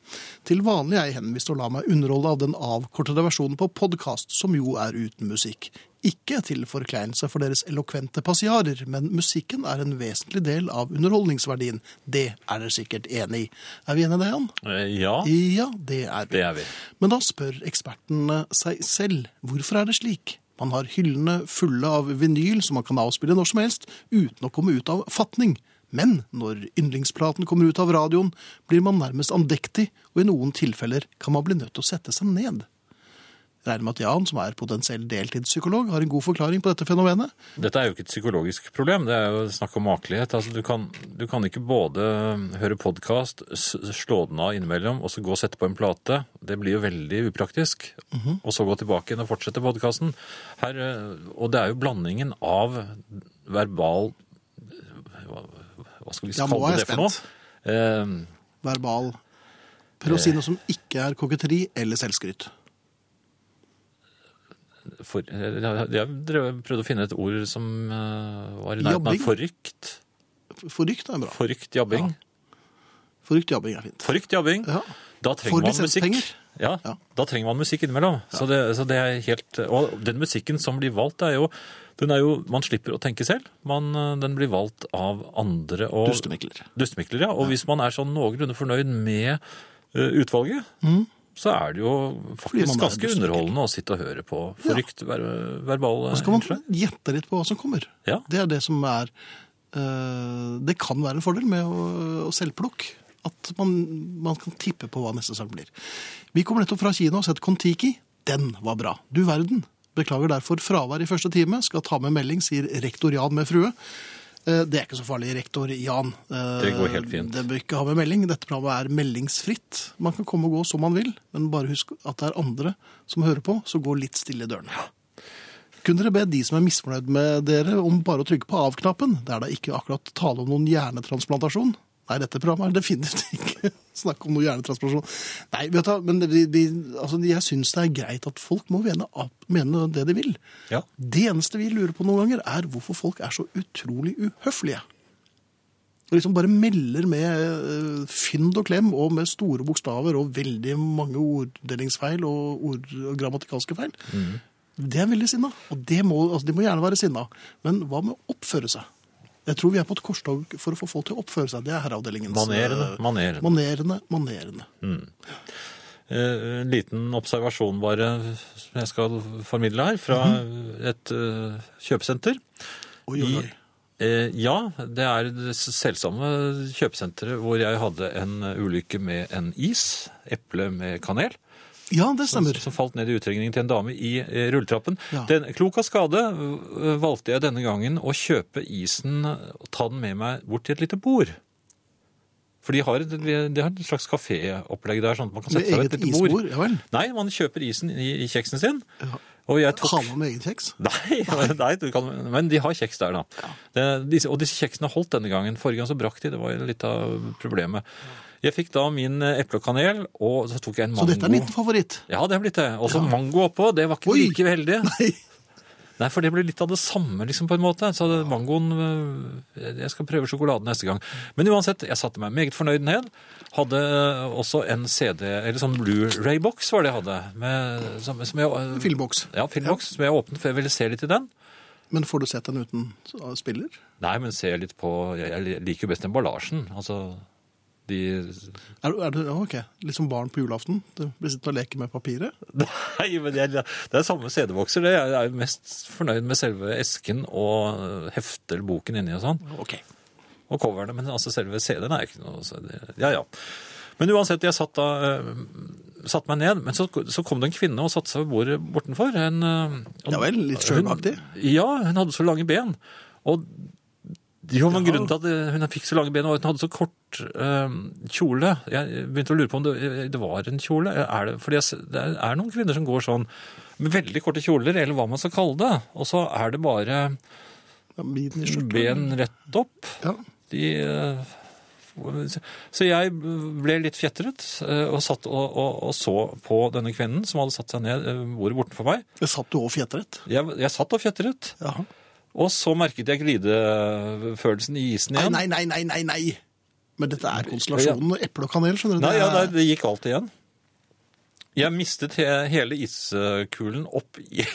B: Til vanlig er jeg henvist til å la meg underholde av den avkortede versjonen på podkast, som jo er uten musikk. Ikke til forkleinelse for deres elokvente passiarer, men musikken er en vesentlig del av underholdningsverdien. Det er dere sikkert enig i. Er vi enige i det, Jan?
A: Eh, Ja,
B: Ja, det er vi.
A: det er vi.
B: Men da spør ekspertene seg selv hvorfor er det slik? Man har hyllene fulle av vinyl som man kan avspille når som helst, uten å komme ut av fatning. Men når yndlingsplaten kommer ut av radioen, blir man nærmest andektig, og i noen tilfeller kan man bli nødt til å sette seg ned. Regner med at Jan, som er potensiell deltidspsykolog, har en god forklaring på dette fenomenet.
A: Dette er jo ikke et psykologisk problem, det er jo snakk om makelighet. Altså, du, kan, du kan ikke både eh, høre podkast, slå den av innimellom, og så gå og sette på en plate. Det blir jo veldig upraktisk.
B: Mhm.
A: Og så gå tilbake igjen og fortsette podkasten. Og det er jo blandingen av verbal eh, Hva, hva skal vi
B: Ja, nå
A: kalle det
B: er jeg
A: for noe? Eh,
B: Verbal. Per å si noe som ikke er koketteri eller selvskryt.
A: for, eh, jeg jeg drev- prøvde å finne et ord som eh, var i nærheten av
B: Jobbing?
A: forrykt.
B: Forrykt er bra.
A: Forrykt jabbing.
B: Forrykt jobbing er fint.
A: Forrykt jabbing.
B: Ja.
A: Da
B: For
A: trenger man musikk.
B: lisenspenger.
A: Ja,
B: Ja.
A: da trenger man musikk innimellom. Så, det, så det er helt, og den musikken som blir valgt, er jo, den er jo Man slipper å tenke selv. Man, eh, den blir valgt av andre. Og,
B: Dustemikler.
A: Dustemikler, ja. Og hvis man er sånn noenlunde fornøyd med eh, utvalget, så er det jo
B: Mm. Fordi man
A: faktisk
B: er
A: ganske
B: dustemikler.
A: underholdende å sitte og høre på
B: Ja.
A: forrykt ver verbale
B: Så kan man
A: innslag.
B: gjette litt på hva som kommer.
A: Ja.
B: Det er det som er eh, Det kan være en fordel med å, å selvplukke. At man, man kan tippe på hva neste sang blir. Vi kom nettopp fra Kina og sett Kon-Tiki. Den var bra. Du verden. Beklager derfor fravær i første time. Skal ta med melding, sier rektor Jan med frue. Eh, Det er ikke så farlig, rektor Jan. Eh,
A: Det går helt fint.
B: Det bør ikke ha med melding. Dette programmet er meldingsfritt. Man kan komme og gå som man vil, men bare husk at det er andre som hører på, så gå litt stille i dørene. Kunne dere be de som er misfornøyd med dere, om bare å trykke på av-knappen? Det er da ikke akkurat tale om noen hjernetransplantasjon. Nei, dette programmet er definitivt ikke snakk om noe hjernetransplantasjon. Nei, vet du, hva, men vi, vi, altså, jeg syns det er greit at folk må mene, ap- mene det de vil.
A: Ja.
B: Det eneste vi lurer på noen ganger, er hvorfor folk er så utrolig uhøflige. Og liksom bare melder med eh, fynd og klem og med store bokstaver og veldig mange orddelingsfeil og, ord, og grammatikalske feil.
A: Mm.
B: Det er veldig sinna, og det må, altså, de må gjerne være sinna. Men hva med å oppføre seg? Jeg tror vi er på et korstog for å få folk til å oppføre seg. Det er herreavdelingens
A: Manerene.
B: eh,
A: manerene.
B: Manerene, manerene.
A: Eh, En liten observasjon bare som jeg skal formidle her, fra
B: Mhm.
A: et eh, kjøpesenter. Mm.
B: Oi, oi, oi.
A: Eh, Ja, det er det selvsamme kjøpesenteret hvor jeg hadde en ulykke med en is, eple med kanel,
B: Ja, det stemmer.
A: som falt ned i utrengningen til en dame i eh, rulletrappen.
B: Ja.
A: Den, klok av skade øh, valgte jeg denne gangen å kjøpe isen og ta den med meg bort til et lite bord. For de har et, de har et slags kaféopplegg der, sånn at man kan
B: Med
A: sette seg ved
B: eget
A: et lite bord.
B: isbord. Ja vel.
A: Nei, man kjøper isen i, i kjeksen sin.
B: Ja.
A: Og jeg tok
B: Ha med med egen kjeks.
A: Nei, nei du kan, men de har kjeks der, da. Det, disse, og disse kjeksene holdt denne gangen. Forrige gang så brakk de. Det var litt av problemet. Jeg fikk da min eh, eple og kanel, og så tok jeg en
B: Så
A: mango.
B: dette er en liten favoritt.
A: Ja, det er blitt det. Og så mango oppå. Det var ikke
B: Oi!
A: like heldig.
B: Nei.
A: Nei, for det blir litt av det samme, liksom, på en måte. Så det- mangoen øh, Jeg skal prøve sjokoladen neste gang. Men uansett, jeg satte meg meget fornøyd ned. Hadde øh, også en CD, eller sånn Blu-ray-boks var det jeg hadde. Med, som, som jeg, øh,
B: Filmboks.
A: Ja, filmboks, som jeg åpnet, for jeg ville se litt i den.
B: Men får du sett den uten spiller?
A: Nei, men se litt på Jeg jeg liker jo best emballasjen. Altså de
B: Er, du- er du, ja, ok. Litt som barn på julaften. Du blir sittende og leker med papiret.
A: Nei, men jeg, det er samme CD-bokser. det. Jeg er jo mest fornøyd med selve esken og heftet eller boken inni og sånn.
B: Ok.
A: Og coverne. Men altså selve CD-en er ikke noe så det- Ja, ja. Men uansett, jeg satt da eh, Satt meg ned, men så, så kom det en kvinne og satte seg ved bordet bortenfor. En, eh,
B: Ja vel, litt
A: Hun-
B: sjømaktig.
A: Ja, hun hadde så lange ben. Og jo, men
B: Ja.
A: grunnen til at eh, hun fikk så lange ben, var at hun hadde så kort eh, kjole. Jeg begynte å lure på om det, eh, det var en kjole. Er det, fordi jeg, s- det er noen kvinner som går sånn med veldig korte kjoler, eller hva man skal kalle det. Og så er det bare
B: Ja, biten i skjorten.
A: ben rett opp.
B: Ja.
A: De, eh, så jeg ble litt fjetret eh, og satt og, og, og så på denne kvinnen som hadde satt seg ned eh, bordet bortenfor meg.
B: Jeg satt jo og fjetret.
A: Jeg, jeg satt og fjetret.
B: Ja.
A: Og så merket jeg glidefølelsen i isen
B: Nei,
A: igjen.
B: nei, nei, nei, nei, nei. Men dette er konstellasjonen eple og kanel, skjønner du.
A: Nei,
B: Det
A: ja,
B: er-
A: nei, det gikk alt igjen. Jeg mistet he- hele iskulen opp i,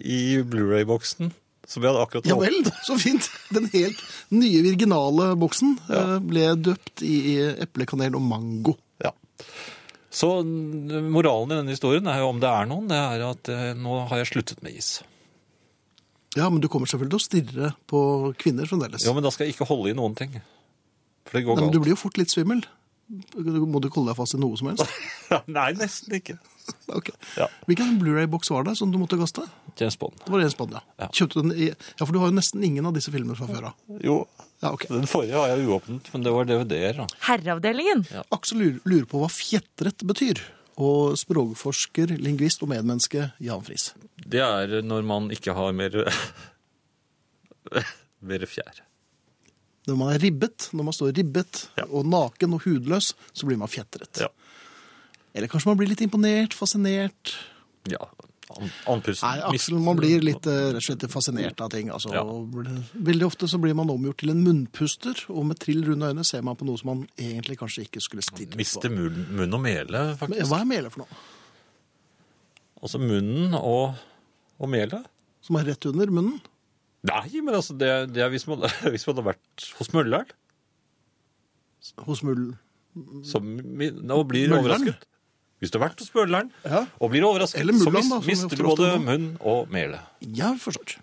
A: i Blu-ray-boksen. Som jeg hadde akkurat
B: Ja vel, så fint. Den helt nye virginale boksen eh, ble døpt i eple, kanel og mango.
A: Ja. Så n- moralen i denne historien er jo om det er noen, det er at eh, nå har jeg sluttet med is.
B: Ja, men du kommer selvfølgelig til å stirre på kvinner fremdeles.
A: Jo, men da skal jeg ikke holde i noen ting. For det går
B: Nei, men du
A: galt.
B: blir jo fort litt svimmel. Du- Må du holde deg fast i noe som helst?
A: Nei, nesten ikke.
B: Ok.
A: Ja.
B: Hvilken Blu-ray-boks var det som du måtte kaste?
A: James Bond.
B: Det var en Spania.
A: Ja.
B: Kjøpte den i... Ja, for du har jo nesten ingen av disse filmene fra før av.
A: Jo,
B: Ja, ok.
A: den forrige har jeg uåpnet, men det var DVD-er. da.
C: Herreavdelingen.
B: Aksel lurer- lurer på hva fjetret betyr. Og språkforsker, lingvist og medmenneske Jan Friis.
A: Det er når man ikke har mer Mer fjær.
B: Når man er ribbet, når man står ribbet
A: Ja.
B: og naken og hudløs, så blir man fjetret.
A: Ja.
B: Eller kanskje man blir litt imponert, fascinert.
A: ja. an- Andpusten.
B: Nei, Aksel, man blir litt eh, rett og slett fascinert av ting. Altså.
A: Ja.
B: Og bl- Veldig ofte så blir man omgjort til en munnpuster, og med trill runde øyne ser man på noe som man egentlig kanskje ikke skulle stirret på.
A: Mister munn, munn og mele,
B: Men
A: faktisk.
B: Hva er mele for noe?
A: Altså munnen og, og melet.
B: Som er rett under munnen?
A: Nei, men altså, det, det er hvis man, hvis man hadde vært hos mølleren,
B: Hos mull...
A: så mi- og blir
B: Mølleren?
A: overrasket. Hvis du har vært hos mølleren
B: Ja.
A: og blir overrasket,
B: Eller mullan, da,
A: så
B: som vi
A: mis, mister du
B: ofte
A: både
B: ofte-
A: munn og mele.
B: Ja, forstår.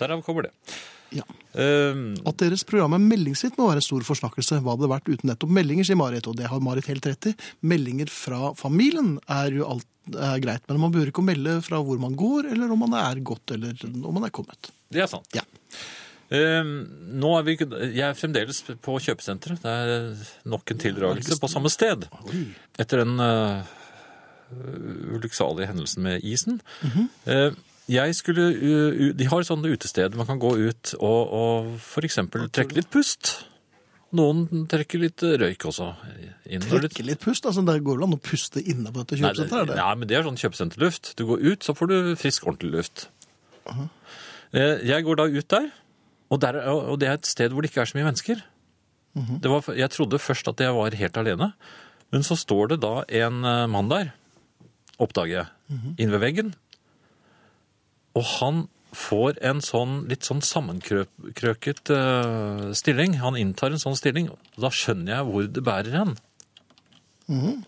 A: Derav kommer det.
B: Ja.
A: Ehm,
B: At deres program er meldingssvitt må være en stor forsnakkelse. Hva hadde det vært uten nettopp meldinger, sier Marit, og det har Marit helt rett i. Meldinger fra familien er jo alt er greit, men man bør ikke melde fra hvor man går, eller om man er gått, eller om man er kommet.
A: det er sant.
B: Ja.
A: Ehm, nå er vi, ikke- jeg er fremdeles på kjøpesenteret. Det er nok en tildragelse på samme sted. Etter den eh, ulykksalige hendelsen med isen. Eh, jeg skulle, eh, u- u- de har sånne utesteder man kan gå ut og, og for eksempel trekke litt pust. Noen trekker litt eh, røyk også. Inn, og litt-
B: Trekke litt pust, altså det går vel an å puste inne på dette
A: Nei, det-
B: kjøpesenteret, er det?
A: Nei, men det er sånn kjøpesenterluft. Du går ut, så får du frisk, ordentlig luft. Eh, Jeg går da ut der, og, der, er- og det er et sted hvor det ikke er så mye mennesker.
B: Mhm.
A: det var, jeg trodde først at jeg var helt alene, men så står det da en eh, mann der, oppdager jeg,
B: Mhm.
A: inn ved veggen. Og han får en sånn litt sånn sammenkrøket eh, stilling. Han inntar en sånn stilling, og da skjønner jeg hvor det bærer hen.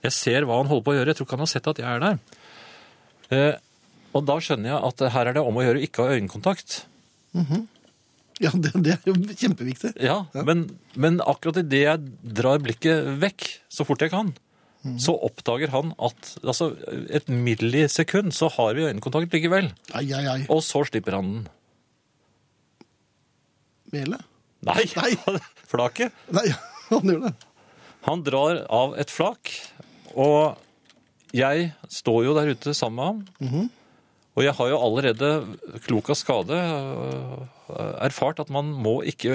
A: Jeg ser hva han holder på å gjøre. Jeg tror ikke han har sett at jeg er der. Eh, og da skjønner jeg at eh, her er det om å gjøre å ikke ha øyekontakt.
B: Ja, det, det er jo kjempeviktig.
A: Ja, Men, men akkurat idet jeg drar blikket vekk så fort jeg kan, så oppdager han at altså, et millisekund så har vi øyekontakt likevel.
B: Ai, ai, ai.
A: Og så slipper han den.
B: Mele?
A: Nei!
B: Nei.
A: Flaket.
B: Nei, han gjør det.
A: Han drar av et flak, og jeg står jo der ute sammen med ham. Og jeg har jo allerede, klok av skade, øh, erfart at man må ikke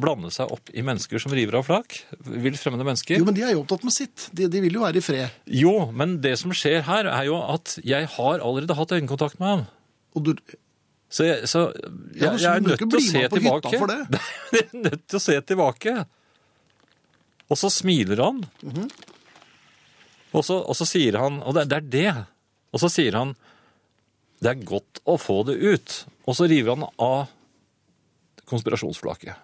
A: blande seg opp i mennesker som river av flak. Vilt fremmede mennesker.
B: Jo, men de er jo opptatt med sitt. De, de vil jo være i fred.
A: Jo, men det som skjer her er jo at jeg har allerede hatt øyekontakt med ham.
B: Og du,
A: Så jeg, så
B: Ja,
A: jeg,
B: så
A: jeg er
B: du må
A: nødt til
B: ikke
A: å
B: bli
A: se
B: med på hytta
A: tilbake.
B: for det.
A: Nei, jeg er nødt til å se tilbake. Og så smiler han.
B: Mhm.
A: og, så, og så sier han Og det, det er det. Og så sier han Det er godt å få det ut. Og så river han av konspirasjonsflaket.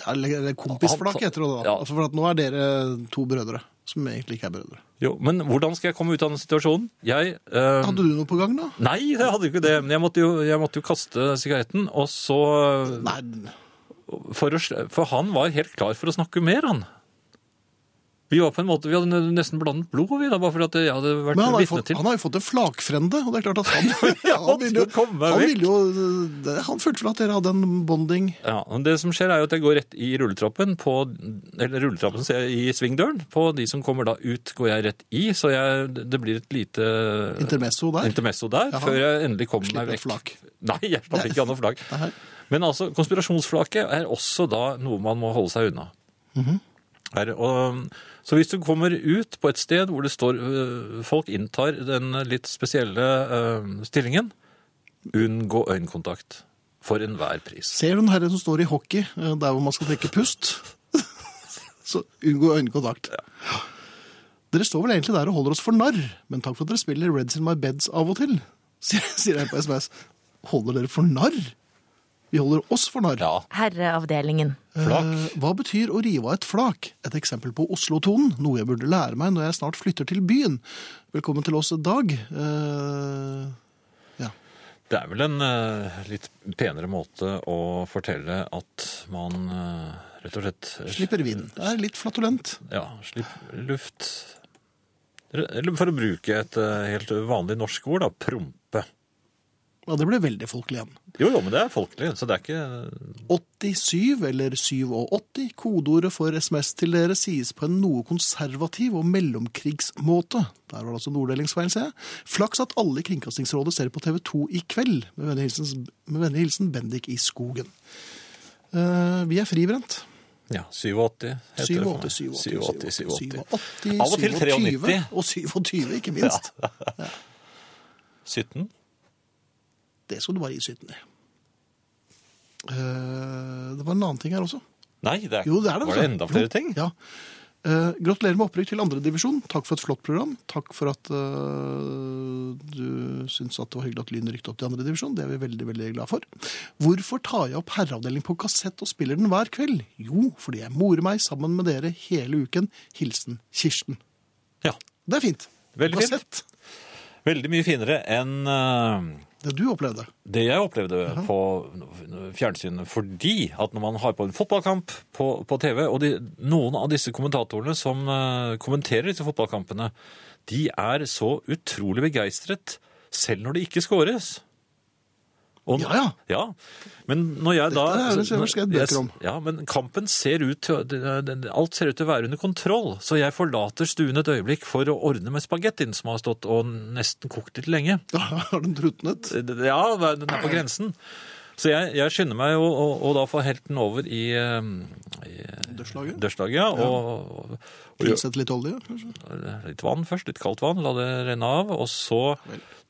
B: ja, eller eller kompisflak
A: Han-
B: heter det da.
A: ja.
B: Altså, for at nå er dere to brødre, som egentlig ikke er brødre.
A: Jo, men hvordan skal jeg komme ut av den situasjonen? Jeg eh,
B: Hadde du noe på gang da?
A: Nei, jeg hadde jo ikke det. Men jeg måtte jo, jeg måtte jo kaste sigaretten. Og så
B: Nei,
A: for, å, sl- for han var helt klar for å snakke mer, han. Vi var på en måte, vi hadde n- nesten blandet blod, vi da, bare fordi at jeg hadde vært
B: men han har, jo
A: vitne
B: fått,
A: til.
B: han har jo fått en flakfrende, og det er klart at han,
A: han
B: han ville jo,
A: skal komme
B: han,
A: vekk.
B: ville jo det- han følte vel at dere hadde en bonding.
A: Ja, men det som skjer er jo at jeg går rett i rulletrappen, på, eller rulletrappen ser jeg i svingdøren, på de som kommer da ut går jeg rett i, så jeg, det blir et lite
B: Intermesso der.
A: intermesso der,
B: Jaha.
A: før jeg endelig kommer
B: Slipper
A: meg
B: et
A: vekk.
B: flak.
A: Nei, jeg slapp ikke an noe flak.
B: Nei.
A: Men altså, konspirasjonsflaket er også da noe man må holde seg unna. er, og, um, så hvis du kommer ut på et sted hvor det står øh, folk inntar den litt spesielle øh, stillingen, Unngå øyekontakt for enhver pris.
B: Ser du den herre som står i hockey, eh, der hvor man skal trekke pust? Så unngå øyekontakt. Dere står vel egentlig der og holder oss for narr, men takk for at dere spiller Reds in my beds av og til, sier, sier jeg på SMS. Holder dere for narr? Vi holder oss for narr.
A: Ja,
C: Herreavdelingen.
A: flak.
B: Eh, Hva betyr å rive av et flak? Et eksempel på Oslo-tonen, noe jeg burde lære meg når jeg snart flytter til byen. Velkommen til oss, Dag. Eh, ja.
A: Det er vel en eh, litt penere måte å fortelle at man eh, rett og slett
B: Slipper vinden. Det er litt flatulent.
A: Ja, slipp luft. Eller for å bruke et eh, helt vanlig norsk ord, da, prompe.
B: Ja, det ble veldig folkelig igjen.
A: Jo, jo, men det er folkelig, så det er ikke
B: 87 eller 87, kodeordet for SMS til dere sies på en noe konservativ og mellomkrigsmåte. Der var det altså norddelingsfeil, ser jeg. Flaks at alle i Kringkastingsrådet ser på TV 2 i kveld. Med vennlig hilsen, med vennlig hilsen Bendik i skogen. Eh, vi er fribrent.
A: Ja, 87 heter det. for meg.
B: 87, 87,
A: 87,
B: 87, 87.
A: Av og til 93.
B: Og 27, ikke minst.
A: 17?
B: Det skal du bare gi syten i. Eh, det var en annen ting her også.
A: Nei, det er,
B: Jo, det er det.
A: var
B: altså.
A: det enda flere
B: Jo,
A: ting?
B: Ja. Eh, gratulerer med opprykk til andredivisjon. Takk for et flott program. Takk for at eh, du syns at det var hyggelig at Lyn rykket opp til andredivisjon. Det er vi veldig veldig glad for. Hvorfor tar jeg opp herreavdeling på kassett og spiller den hver kveld? Jo, fordi jeg morer meg sammen med dere hele uken. Hilsen Kirsten.
A: Ja.
B: Det er fint.
A: Veldig fint.
B: Kassett.
A: Veldig mye finere enn eh,
B: Det du opplevde.
A: det jeg opplevde på fjernsynet. Fordi at når man har på en fotballkamp på, på TV, og de, noen av disse kommentatorene som eh, kommenterer disse fotballkampene, de er så utrolig begeistret selv når det ikke skåres. Og-
B: Ja, ja.
A: Men når jeg da
B: Dette er det som jeg skrev bøker om.
A: Ja, men kampen ser ut til det- det- Alt ser ut til å være under kontroll, så jeg forlater stuen et øyeblikk for å ordne med spagettien som har stått og nesten kokt litt lenge.
B: Da har den drutnet.
A: Ja, den er på grensen. Så jeg, jeg skynder meg å, å, å da få helten over i, eh, i
B: Dørslaget.
A: dørslaget. Ja, og, og gjør-
B: Tilsett litt olje, kanskje.
A: litt vann først, litt kaldt vann, la det renne av, og så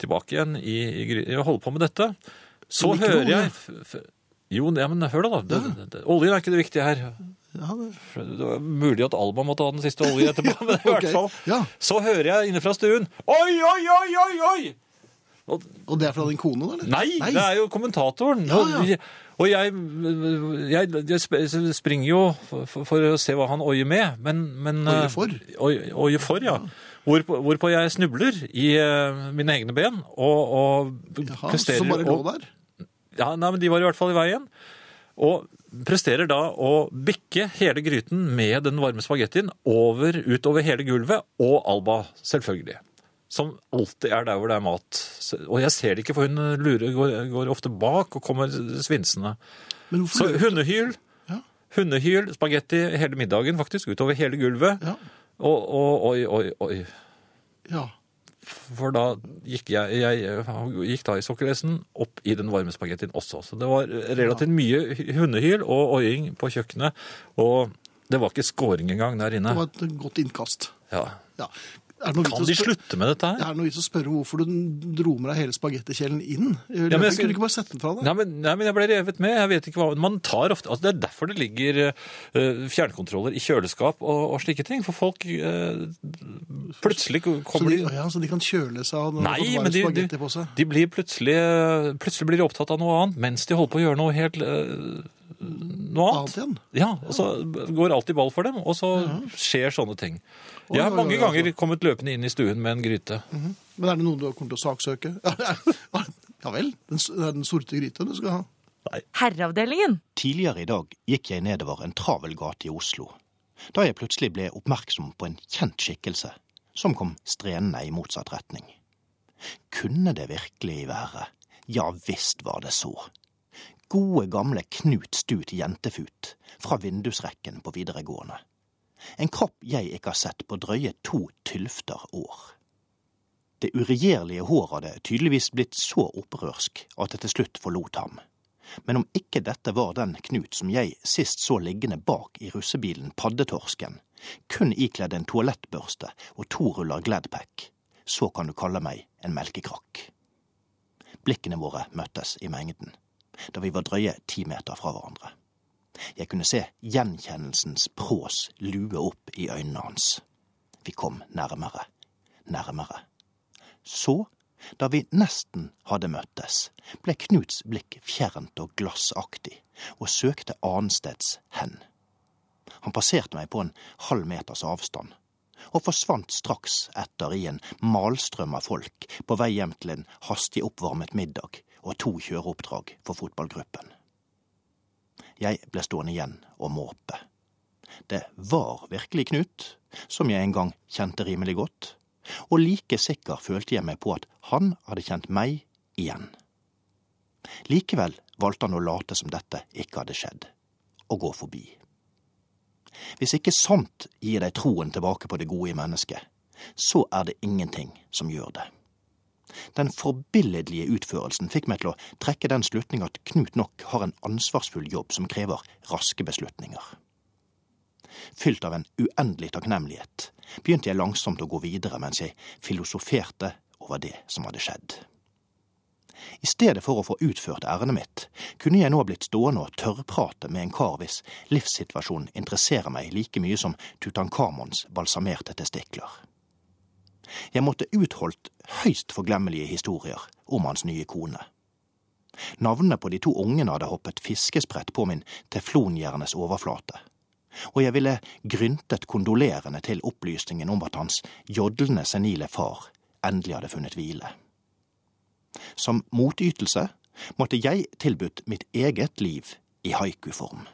A: tilbake igjen i, i, gry- jeg holder på med dette. Så
B: Men ikke
A: hører
B: noe
A: jeg f, f, Jo, ja, men hør da, da. Det, det, oljen er ikke det viktige her.
B: Ja, det...
A: Det var mulig at Alma måtte ha den siste oljen etterpå, men i
B: ok.
A: hvert fall.
B: Ja.
A: Så hører jeg inne fra stuen Oi, oi, oi, oi, oi! Og,
B: Og det er fra din kone, da? eller?
A: Nei, det er jo kommentatoren.
B: Ja, ja.
A: Og jeg- Og jeg, jeg, jeg sp- springer jo for, for- for å se hva han oier med. Men, men
B: Oier for?
A: Oi- Oier for, ja. Hvorpå, hvorpå jeg snubler i eh, mine egne ben og, og
B: Jaha,
A: presterer
B: som bare lå
A: å-
B: der?
A: Ja, nei, men De var i hvert fall i veien. Og presterer da å bikke hele gryten med den varme spagettien over, utover hele gulvet, og Alba, selvfølgelig. Som alltid er der hvor det er mat. Så- Og jeg ser det ikke, for hun lurer, går, går ofte bak og kommer svinsende.
B: Men hvorfor
A: Så
B: lurer-
A: hundehyl,
B: Ja.
A: hundehyl, spagetti hele middagen faktisk, utover hele gulvet.
B: Ja.
A: Og, og oi, oi, oi.
B: ja.
A: For da gikk jeg, jeg gikk da i sokkelesten opp i den varme spagettien også. Så det var relativt mye hundehyl og oiing på kjøkkenet. Og det var ikke skåring engang der
B: Det
A: inne.
B: var et godt innkast.
A: Ja.
B: Ja. Er det noe vits
A: Kan
B: å
A: de
B: spør-
A: slutte med dette her?
B: Det er noe vits å spørre hvorfor du dro med deg hele spagettikjelen inn. I
A: Ja, men
B: løpet.
A: jeg-
B: Kunne du ikke bare sette den fra deg?
A: Nei men, nei, men jeg ble revet med. Jeg vet ikke hva, man tar ofte, altså Det er derfor det ligger eh, fjernkontroller i kjøleskap og, og slike ting. For folk eh, plutselig
B: Så
A: kommer
B: de,
A: de
B: ja, så de kan kjøle seg av når
A: Nei,
B: de har fått
A: men
B: varm
A: de, de,
B: spagetti på seg?
A: de blir plutselig, plutselig blir de opptatt av noe annet mens de holder på å gjøre noe helt eh, noe annet.
B: Annet igjen?
A: Ja, og så går alt i ball for dem, og så skjer sånne ting.
B: Oi,
A: Jeg har
B: oi,
A: mange
B: oi,
A: ganger kommet løpende inn i stuen med en gryte.
B: Men er det noen du kommer til å saksøke? Ja, ja vel. Den, s- det er den sorte gryta du skal ha.
C: Herreavdelingen.
D: Tidligere i dag gikk jeg nedover en travel gate i Oslo, da jeg plutselig ble oppmerksom på en kjent skikkelse som kom strenende i motsatt retning. Kunne det virkelig være? Ja visst var det så. Gode gamle Knut Stut Jentefut fra vindusrekken på videregående. En kropp jeg ikke har sett på drøye to tylfter år. Det uregjerlige håret hadde tydeligvis blitt så opprørsk at det til slutt forlot ham men om ikke dette var den Knut som jeg sist så liggende bak i russebilen Paddetorsken, kun ikledd en toalettbørste og to ruller Gladpack, så kan du kalle meg en melkekrakk. Blikkene våre møttes i mengden, da vi var drøye ti meter fra hverandre. Jeg kunne se gjenkjennelsens prås lue opp i øynene hans. Vi kom nærmere, nærmere. Så, da vi nesten hadde møttes, ble Knuts blikk fjernt og glassaktig, og søkte annensteds hen. Han passerte meg på en halv meters avstand, og forsvant straks etter i en malstrøm av folk på vei hjem til en hastig oppvarmet middag og to kjøreoppdrag for fotballgruppen. Jeg ble stående igjen og måpe. Det var virkelig Knut, som jeg en gang kjente rimelig godt, og like sikker følte jeg meg på at han hadde kjent meg igjen. Likevel valgte han å late som dette ikke hadde skjedd, og gå forbi. Hvis ikke sant gir deg troen tilbake på det gode i mennesket, så er det ingenting som gjør det. Den forbilledlige utførelsen fikk meg til å trekke den slutning at Knut nok har en ansvarsfull jobb som krever raske beslutninger. Fylt av en uendelig takknemlighet begynte jeg langsomt å gå videre mens jeg filosoferte over det som hadde skjedd. I stedet for å få utført ærendet mitt, kunne jeg nå blitt stående og tørrprate med en kar hvis livssituasjon interesserer meg like mye som Tutankhamons balsamerte testikler. Jeg måtte utholdt høyst forglemmelige historier om hans nye kone. Navnene på de to ungene hadde hoppet fiskesprett på min teflonhjernes overflate, og jeg ville gryntet kondolerende til opplysningen om at hans jodlende senile far endelig hadde funnet hvile. Som motytelse måtte jeg tilbudt mitt eget liv i haikuform.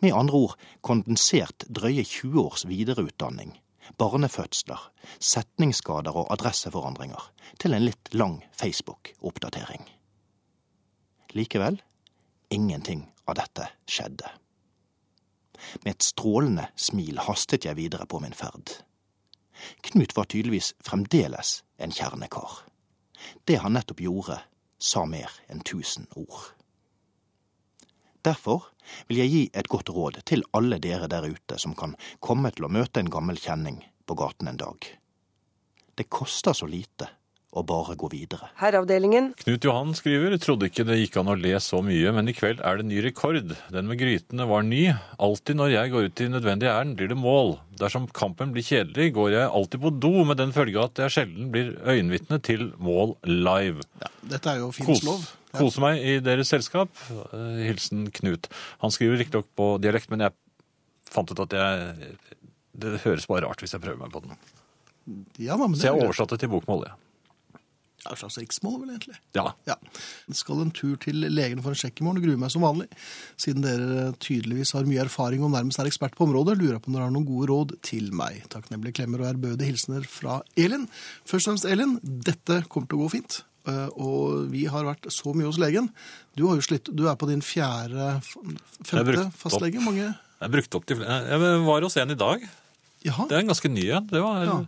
D: Med andre ord kondensert drøye 20 års videreutdanning barnefødsler, setningsskader og adresseforandringer til en litt lang Facebook-oppdatering. Likevel ingenting av dette skjedde. Med et strålende smil hastet jeg videre på min ferd. Knut var tydeligvis fremdeles en kjernekar. Det han nettopp gjorde, sa mer enn tusen ord. Derfor vil jeg gi et godt råd til alle dere der ute som kan komme til å møte en gammel kjenning på gaten en dag. Det koster så lite å bare gå videre.
E: Herreavdelingen.
A: Knut Johan skriver trodde ikke det gikk an å le så mye, men i kveld er det ny rekord. Den med grytene var ny. Alltid når jeg går ut i nødvendig ærend, blir det mål. Dersom kampen blir kjedelig, går jeg alltid på do, med den følge at jeg sjelden blir øyenvitne til mål live.
B: Dette er jo
A: Kos,
B: Finns lov. Ja.
A: kose meg i deres selskap. Eh, Hilsen Knut. Han skriver riktignok på dialekt, men jeg fant ut at jeg det høres bare rart hvis jeg prøver meg på den.
B: Ja, men det
A: Så
B: er
A: jeg
B: jo
A: oversatte til bokmål, jeg.
B: et slags riksmål, vel, egentlig.
A: Ja.
B: Ja. Jeg skal en tur til legen for en sjekk i morgen og gruer meg som vanlig. Siden dere tydeligvis har mye erfaring og nærmest er ekspert på området, lurer jeg på om dere har noen gode råd til meg. Takknemlige klemmer og ærbødige hilsener fra Elin. Først og fremst, Elin, dette kommer til å gå fint. Eh, Og vi har vært så mye hos legen. Du, har jo slitt, du er på din fjerde, f- femte
A: brukt opp.
B: fastlege. Mange
A: Jeg brukte opp de flere. Jeg var hos en i dag.
B: Jaha.
A: Det er en ganske ny en. Det var
B: Ja.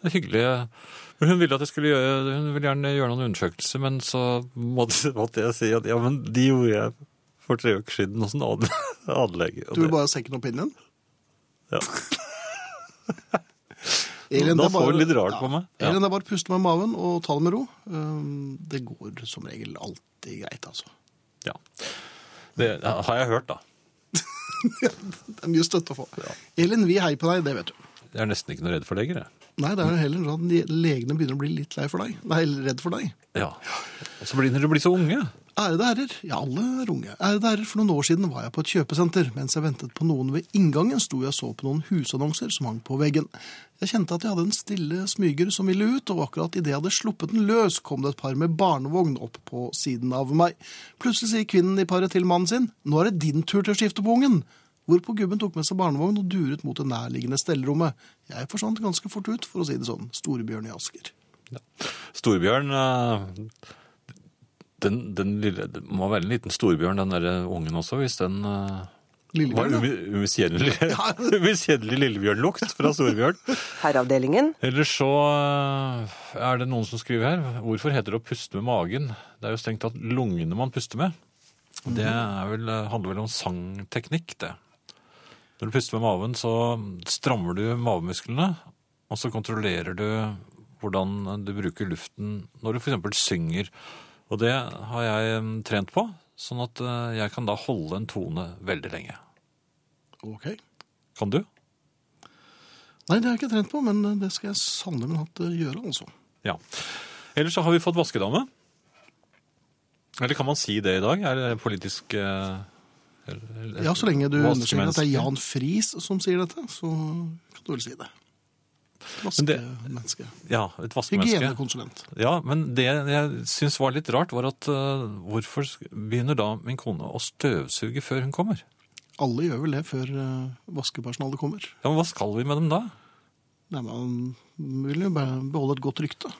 A: en hyggelig. Men hun ville at jeg skulle gjøre, hun ville gjerne gjøre noen undersøkelser, men så måtte, måtte jeg si at ja, men de gjorde jeg for tre uker siden hos en annen anlege. Og
B: Du vil
A: det-
B: bare ha second opinion?
A: Ja.
B: Elin,
A: Da
B: det er
A: får
B: bare-
A: du litt rart på meg. Ja.
B: Elin, det er bare å puste med maven og ta det med ro. Um, Det går som regel alltid greit, altså.
A: Ja. Det har jeg hørt, da.
B: Det er mye støtte å få. Elin, vi heier på deg, det vet du.
A: Jeg er nesten ikke noe redd for leger, jeg.
B: Nei, det er jo heller sånn at de- legene begynner å bli litt lei for deg. Nei, eller redd for deg.
A: Ja. Og så blir når du blir så unge.
B: Ærede herrer, ja alle er unge. Ærede herrer, for noen år siden var jeg på et kjøpesenter. Mens jeg ventet på noen ved inngangen, sto jeg og så på noen husannonser som hang på veggen. Jeg kjente at jeg hadde en stille smyger som ville ut, og akkurat idet jeg hadde sluppet den løs, kom det et par med barnevogn opp på siden av meg. Plutselig sier kvinnen i paret til mannen sin, nå er det din tur til å skifte på ungen. Hvorpå gubben tok med seg barnevogn og duret mot det nærliggende stellerommet. Jeg forsvant ganske fort ut, for å si det sånn. Storebjørn i Asker.
A: Storbjørn eh, den, den lille, Det må være en liten storbjørn, den derre ungen også, hvis den eh, var
B: Lillebjørn, ja.
A: umi- umiskjennelig umiskjennelig lillebjørnlukt fra storbjørn.
E: Herreavdelingen.
A: Ellers så eh, er det noen som skriver her Hvorfor heter det å puste med magen? Det er jo strengt tatt lungene man puster med. Det er vel, eh, handler vel om sangteknikk, det. Når du puster med maven, så strammer du mavemusklene, og så kontrollerer du hvordan du bruker luften når du f.eks. synger. Og det har jeg mm, trent på, sånn at eh, jeg kan da holde en tone veldig lenge.
B: Ok.
A: Kan du?
B: Nei, det har jeg ikke trent på, men det skal jeg sannelig min hatt gjøre, altså.
A: Ja. Ellers så har vi fått vaskedame. Eller kan man si det i dag? Er det politisk eh, eller-
B: Ja, så lenge du
A: vaskemenneske?
B: understreker at det er Jan Friis som sier dette, så kan du vel si det.
A: det-
B: Vaskemenneske.
A: Ja, et vaskemenneske.
B: Hygienekonsulent.
A: Ja, men det jeg syns var litt rart, var at eh, hvorfor sk- begynner da min kone å støvsuge før hun kommer?
B: Alle gjør vel det før eh, vaskepersonalet kommer.
A: Ja, men Hva skal vi med dem da?
B: Nei, Man vil jo bare beholde et godt rykte.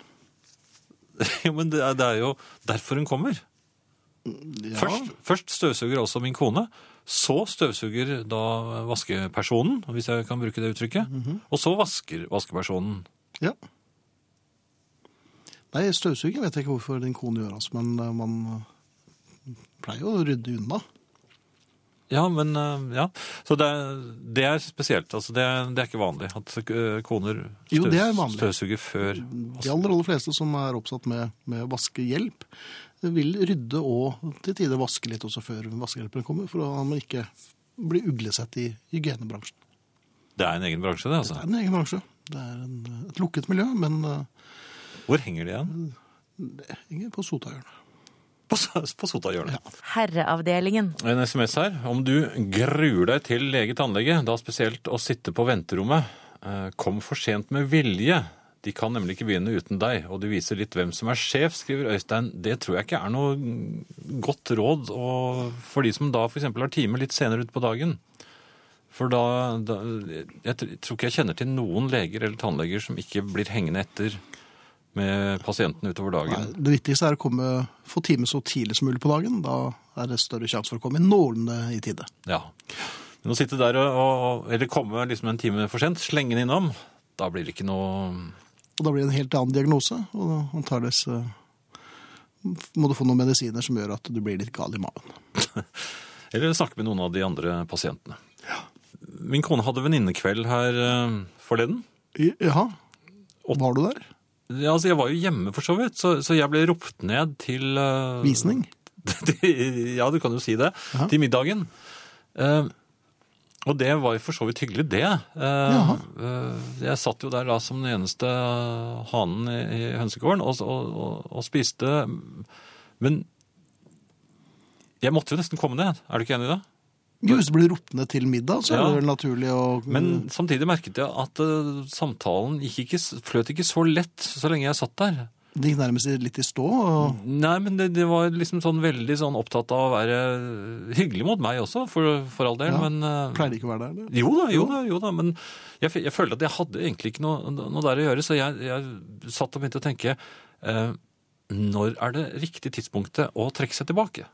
A: jo, men det er, det er jo derfor hun kommer.
B: Ja,
A: Først, først støvsuger også min kone. Så støvsuger da vaskepersonen, hvis jeg kan bruke det uttrykket.
B: Mhm.
A: Og så vasker vaskepersonen.
B: Ja. Nei, støvsuging vet jeg ikke hvorfor din kone gjør, altså, men eh, man eh, pleier jo å rydde unna.
A: Ja, men eh, ja. Så det, er- det er spesielt. Altså, det, er- det er ikke vanlig at eh, koner
B: Jo, det er
A: støvs-
B: vanlig.
A: støvsuger før Altså,
B: De aller, aller fleste som er oppsatt med, med vaskehjelp, vil rydde og til tider vaske litt også før vaskehjelpen kommer, for at man ikke blir uglesett i hygienebransjen.
A: Det er en egen bransje, det.
B: Det
A: altså.
B: er en egen bransje. Det er en, et lukket miljø, men eh,
A: Hvor henger de igjen?
B: ikke på Sotahjørnet.
A: På, s- på Sotahjørnet.
C: Herreavdelingen.
A: En SMS her. Om du gruer deg til lege-tannlege, da spesielt å sitte på venterommet, eh, kom for sent med vilje. De kan nemlig ikke begynne uten deg, og du viser litt hvem som er sjef, skriver Øystein. Det tror jeg ikke er noe godt råd og for de som da f.eks. har time litt senere utpå dagen. For da, da Jeg tr- tror ikke jeg kjenner til noen leger eller tannleger som ikke blir hengende etter med pasienten utover
B: Nei,
A: dagen.
B: Det viktigste er å komme, få time så tidlig som mulig på dagen. Da er det større sjanse for å komme i nålene i tide.
A: Ja. Men å sitte der og, og eller komme liksom en time for sent, slenge den innom, da blir det ikke noe
B: Og da blir det en helt annen diagnose, og antageligvis eh, må du få noen medisiner som gjør at du blir litt gal i magen.
A: Eller snakke med noen av de andre pasientene. Min kone hadde venninnekveld her eh, forleden.
B: I- Jaha, var du der?
A: Ja, altså, jeg var jo hjemme for så vidt, så, så jeg ble ropt ned til eh,
B: Visning?
A: til- ja, du kan jo si det.
B: Jaha.
A: Til middagen. Eh, og det var jo for så vidt hyggelig, det. Eh, eh, jeg satt jo der da som den eneste hanen i i hønsegården og, og, og, og spiste. Men jeg måtte jo nesten komme ned. Er du ikke enig i det?
B: Jo, hvis du blir ropt ned til middag, så
A: Ja.
B: er det vel naturlig å
A: Men samtidig merket jeg at eh, samtalen gikk ikke, s- fløt ikke så lett så lenge jeg satt der.
B: Det gikk nærmest litt i stå. Og,
A: Nei, men det, det var liksom sånn veldig sånn opptatt av å være hyggelig mot meg også, for, for all del.
B: Ja,
A: Men eh,
B: Pleier det ikke å være der? Det.
A: Jo da, jo da, jo da, men jeg, f- jeg følte at jeg hadde egentlig ikke noe, noe der å gjøre, så jeg, jeg satt og begynte å tenke eh, når er det riktig tidspunktet å trekke seg tilbake?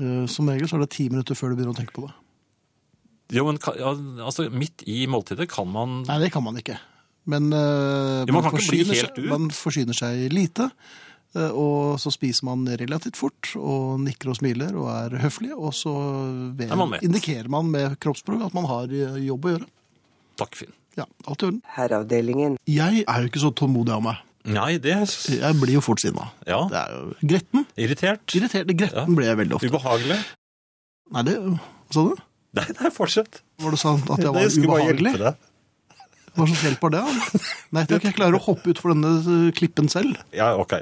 B: Eh, Som regel så er det ti minutter før du begynner å tenke på det.
A: Jo, men ka- ja, altså, midt i måltidet kan man
B: Nei, det kan man ikke. Men eh,
A: Jo, man kan ikke bli helt
B: seg,
A: ut.
B: man forsyner seg lite, eh, og så spiser man relativt fort, og nikker og smiler og er høflig, og så ved,
A: Ja, man vet.
B: indikerer man med kroppsspråk at man har eh, jobb å gjøre.
A: Takk, Finn.
B: Ja, alt i orden.
E: Herreavdelingen.
B: Jeg er jo ikke så tålmodig av meg.
A: Nei, det er
B: Jeg blir jo fort sinna.
A: Ja,
B: Det er jo gretten.
A: irritert.
B: Irritert. Gretten
A: Ja.
B: blir jeg veldig ofte.
A: Ubehagelig.
B: Nei, det sa du?
A: Nei, nei, fortsett.
B: Var det sant at jeg var
A: skulle bare hjelpe
B: ubehagelig?
A: deg.
B: Hva slags hjelp var det? da? Nei, jeg tror ikke jeg klarer å hoppe utfor denne eh, klippen selv.
A: Ja, ok.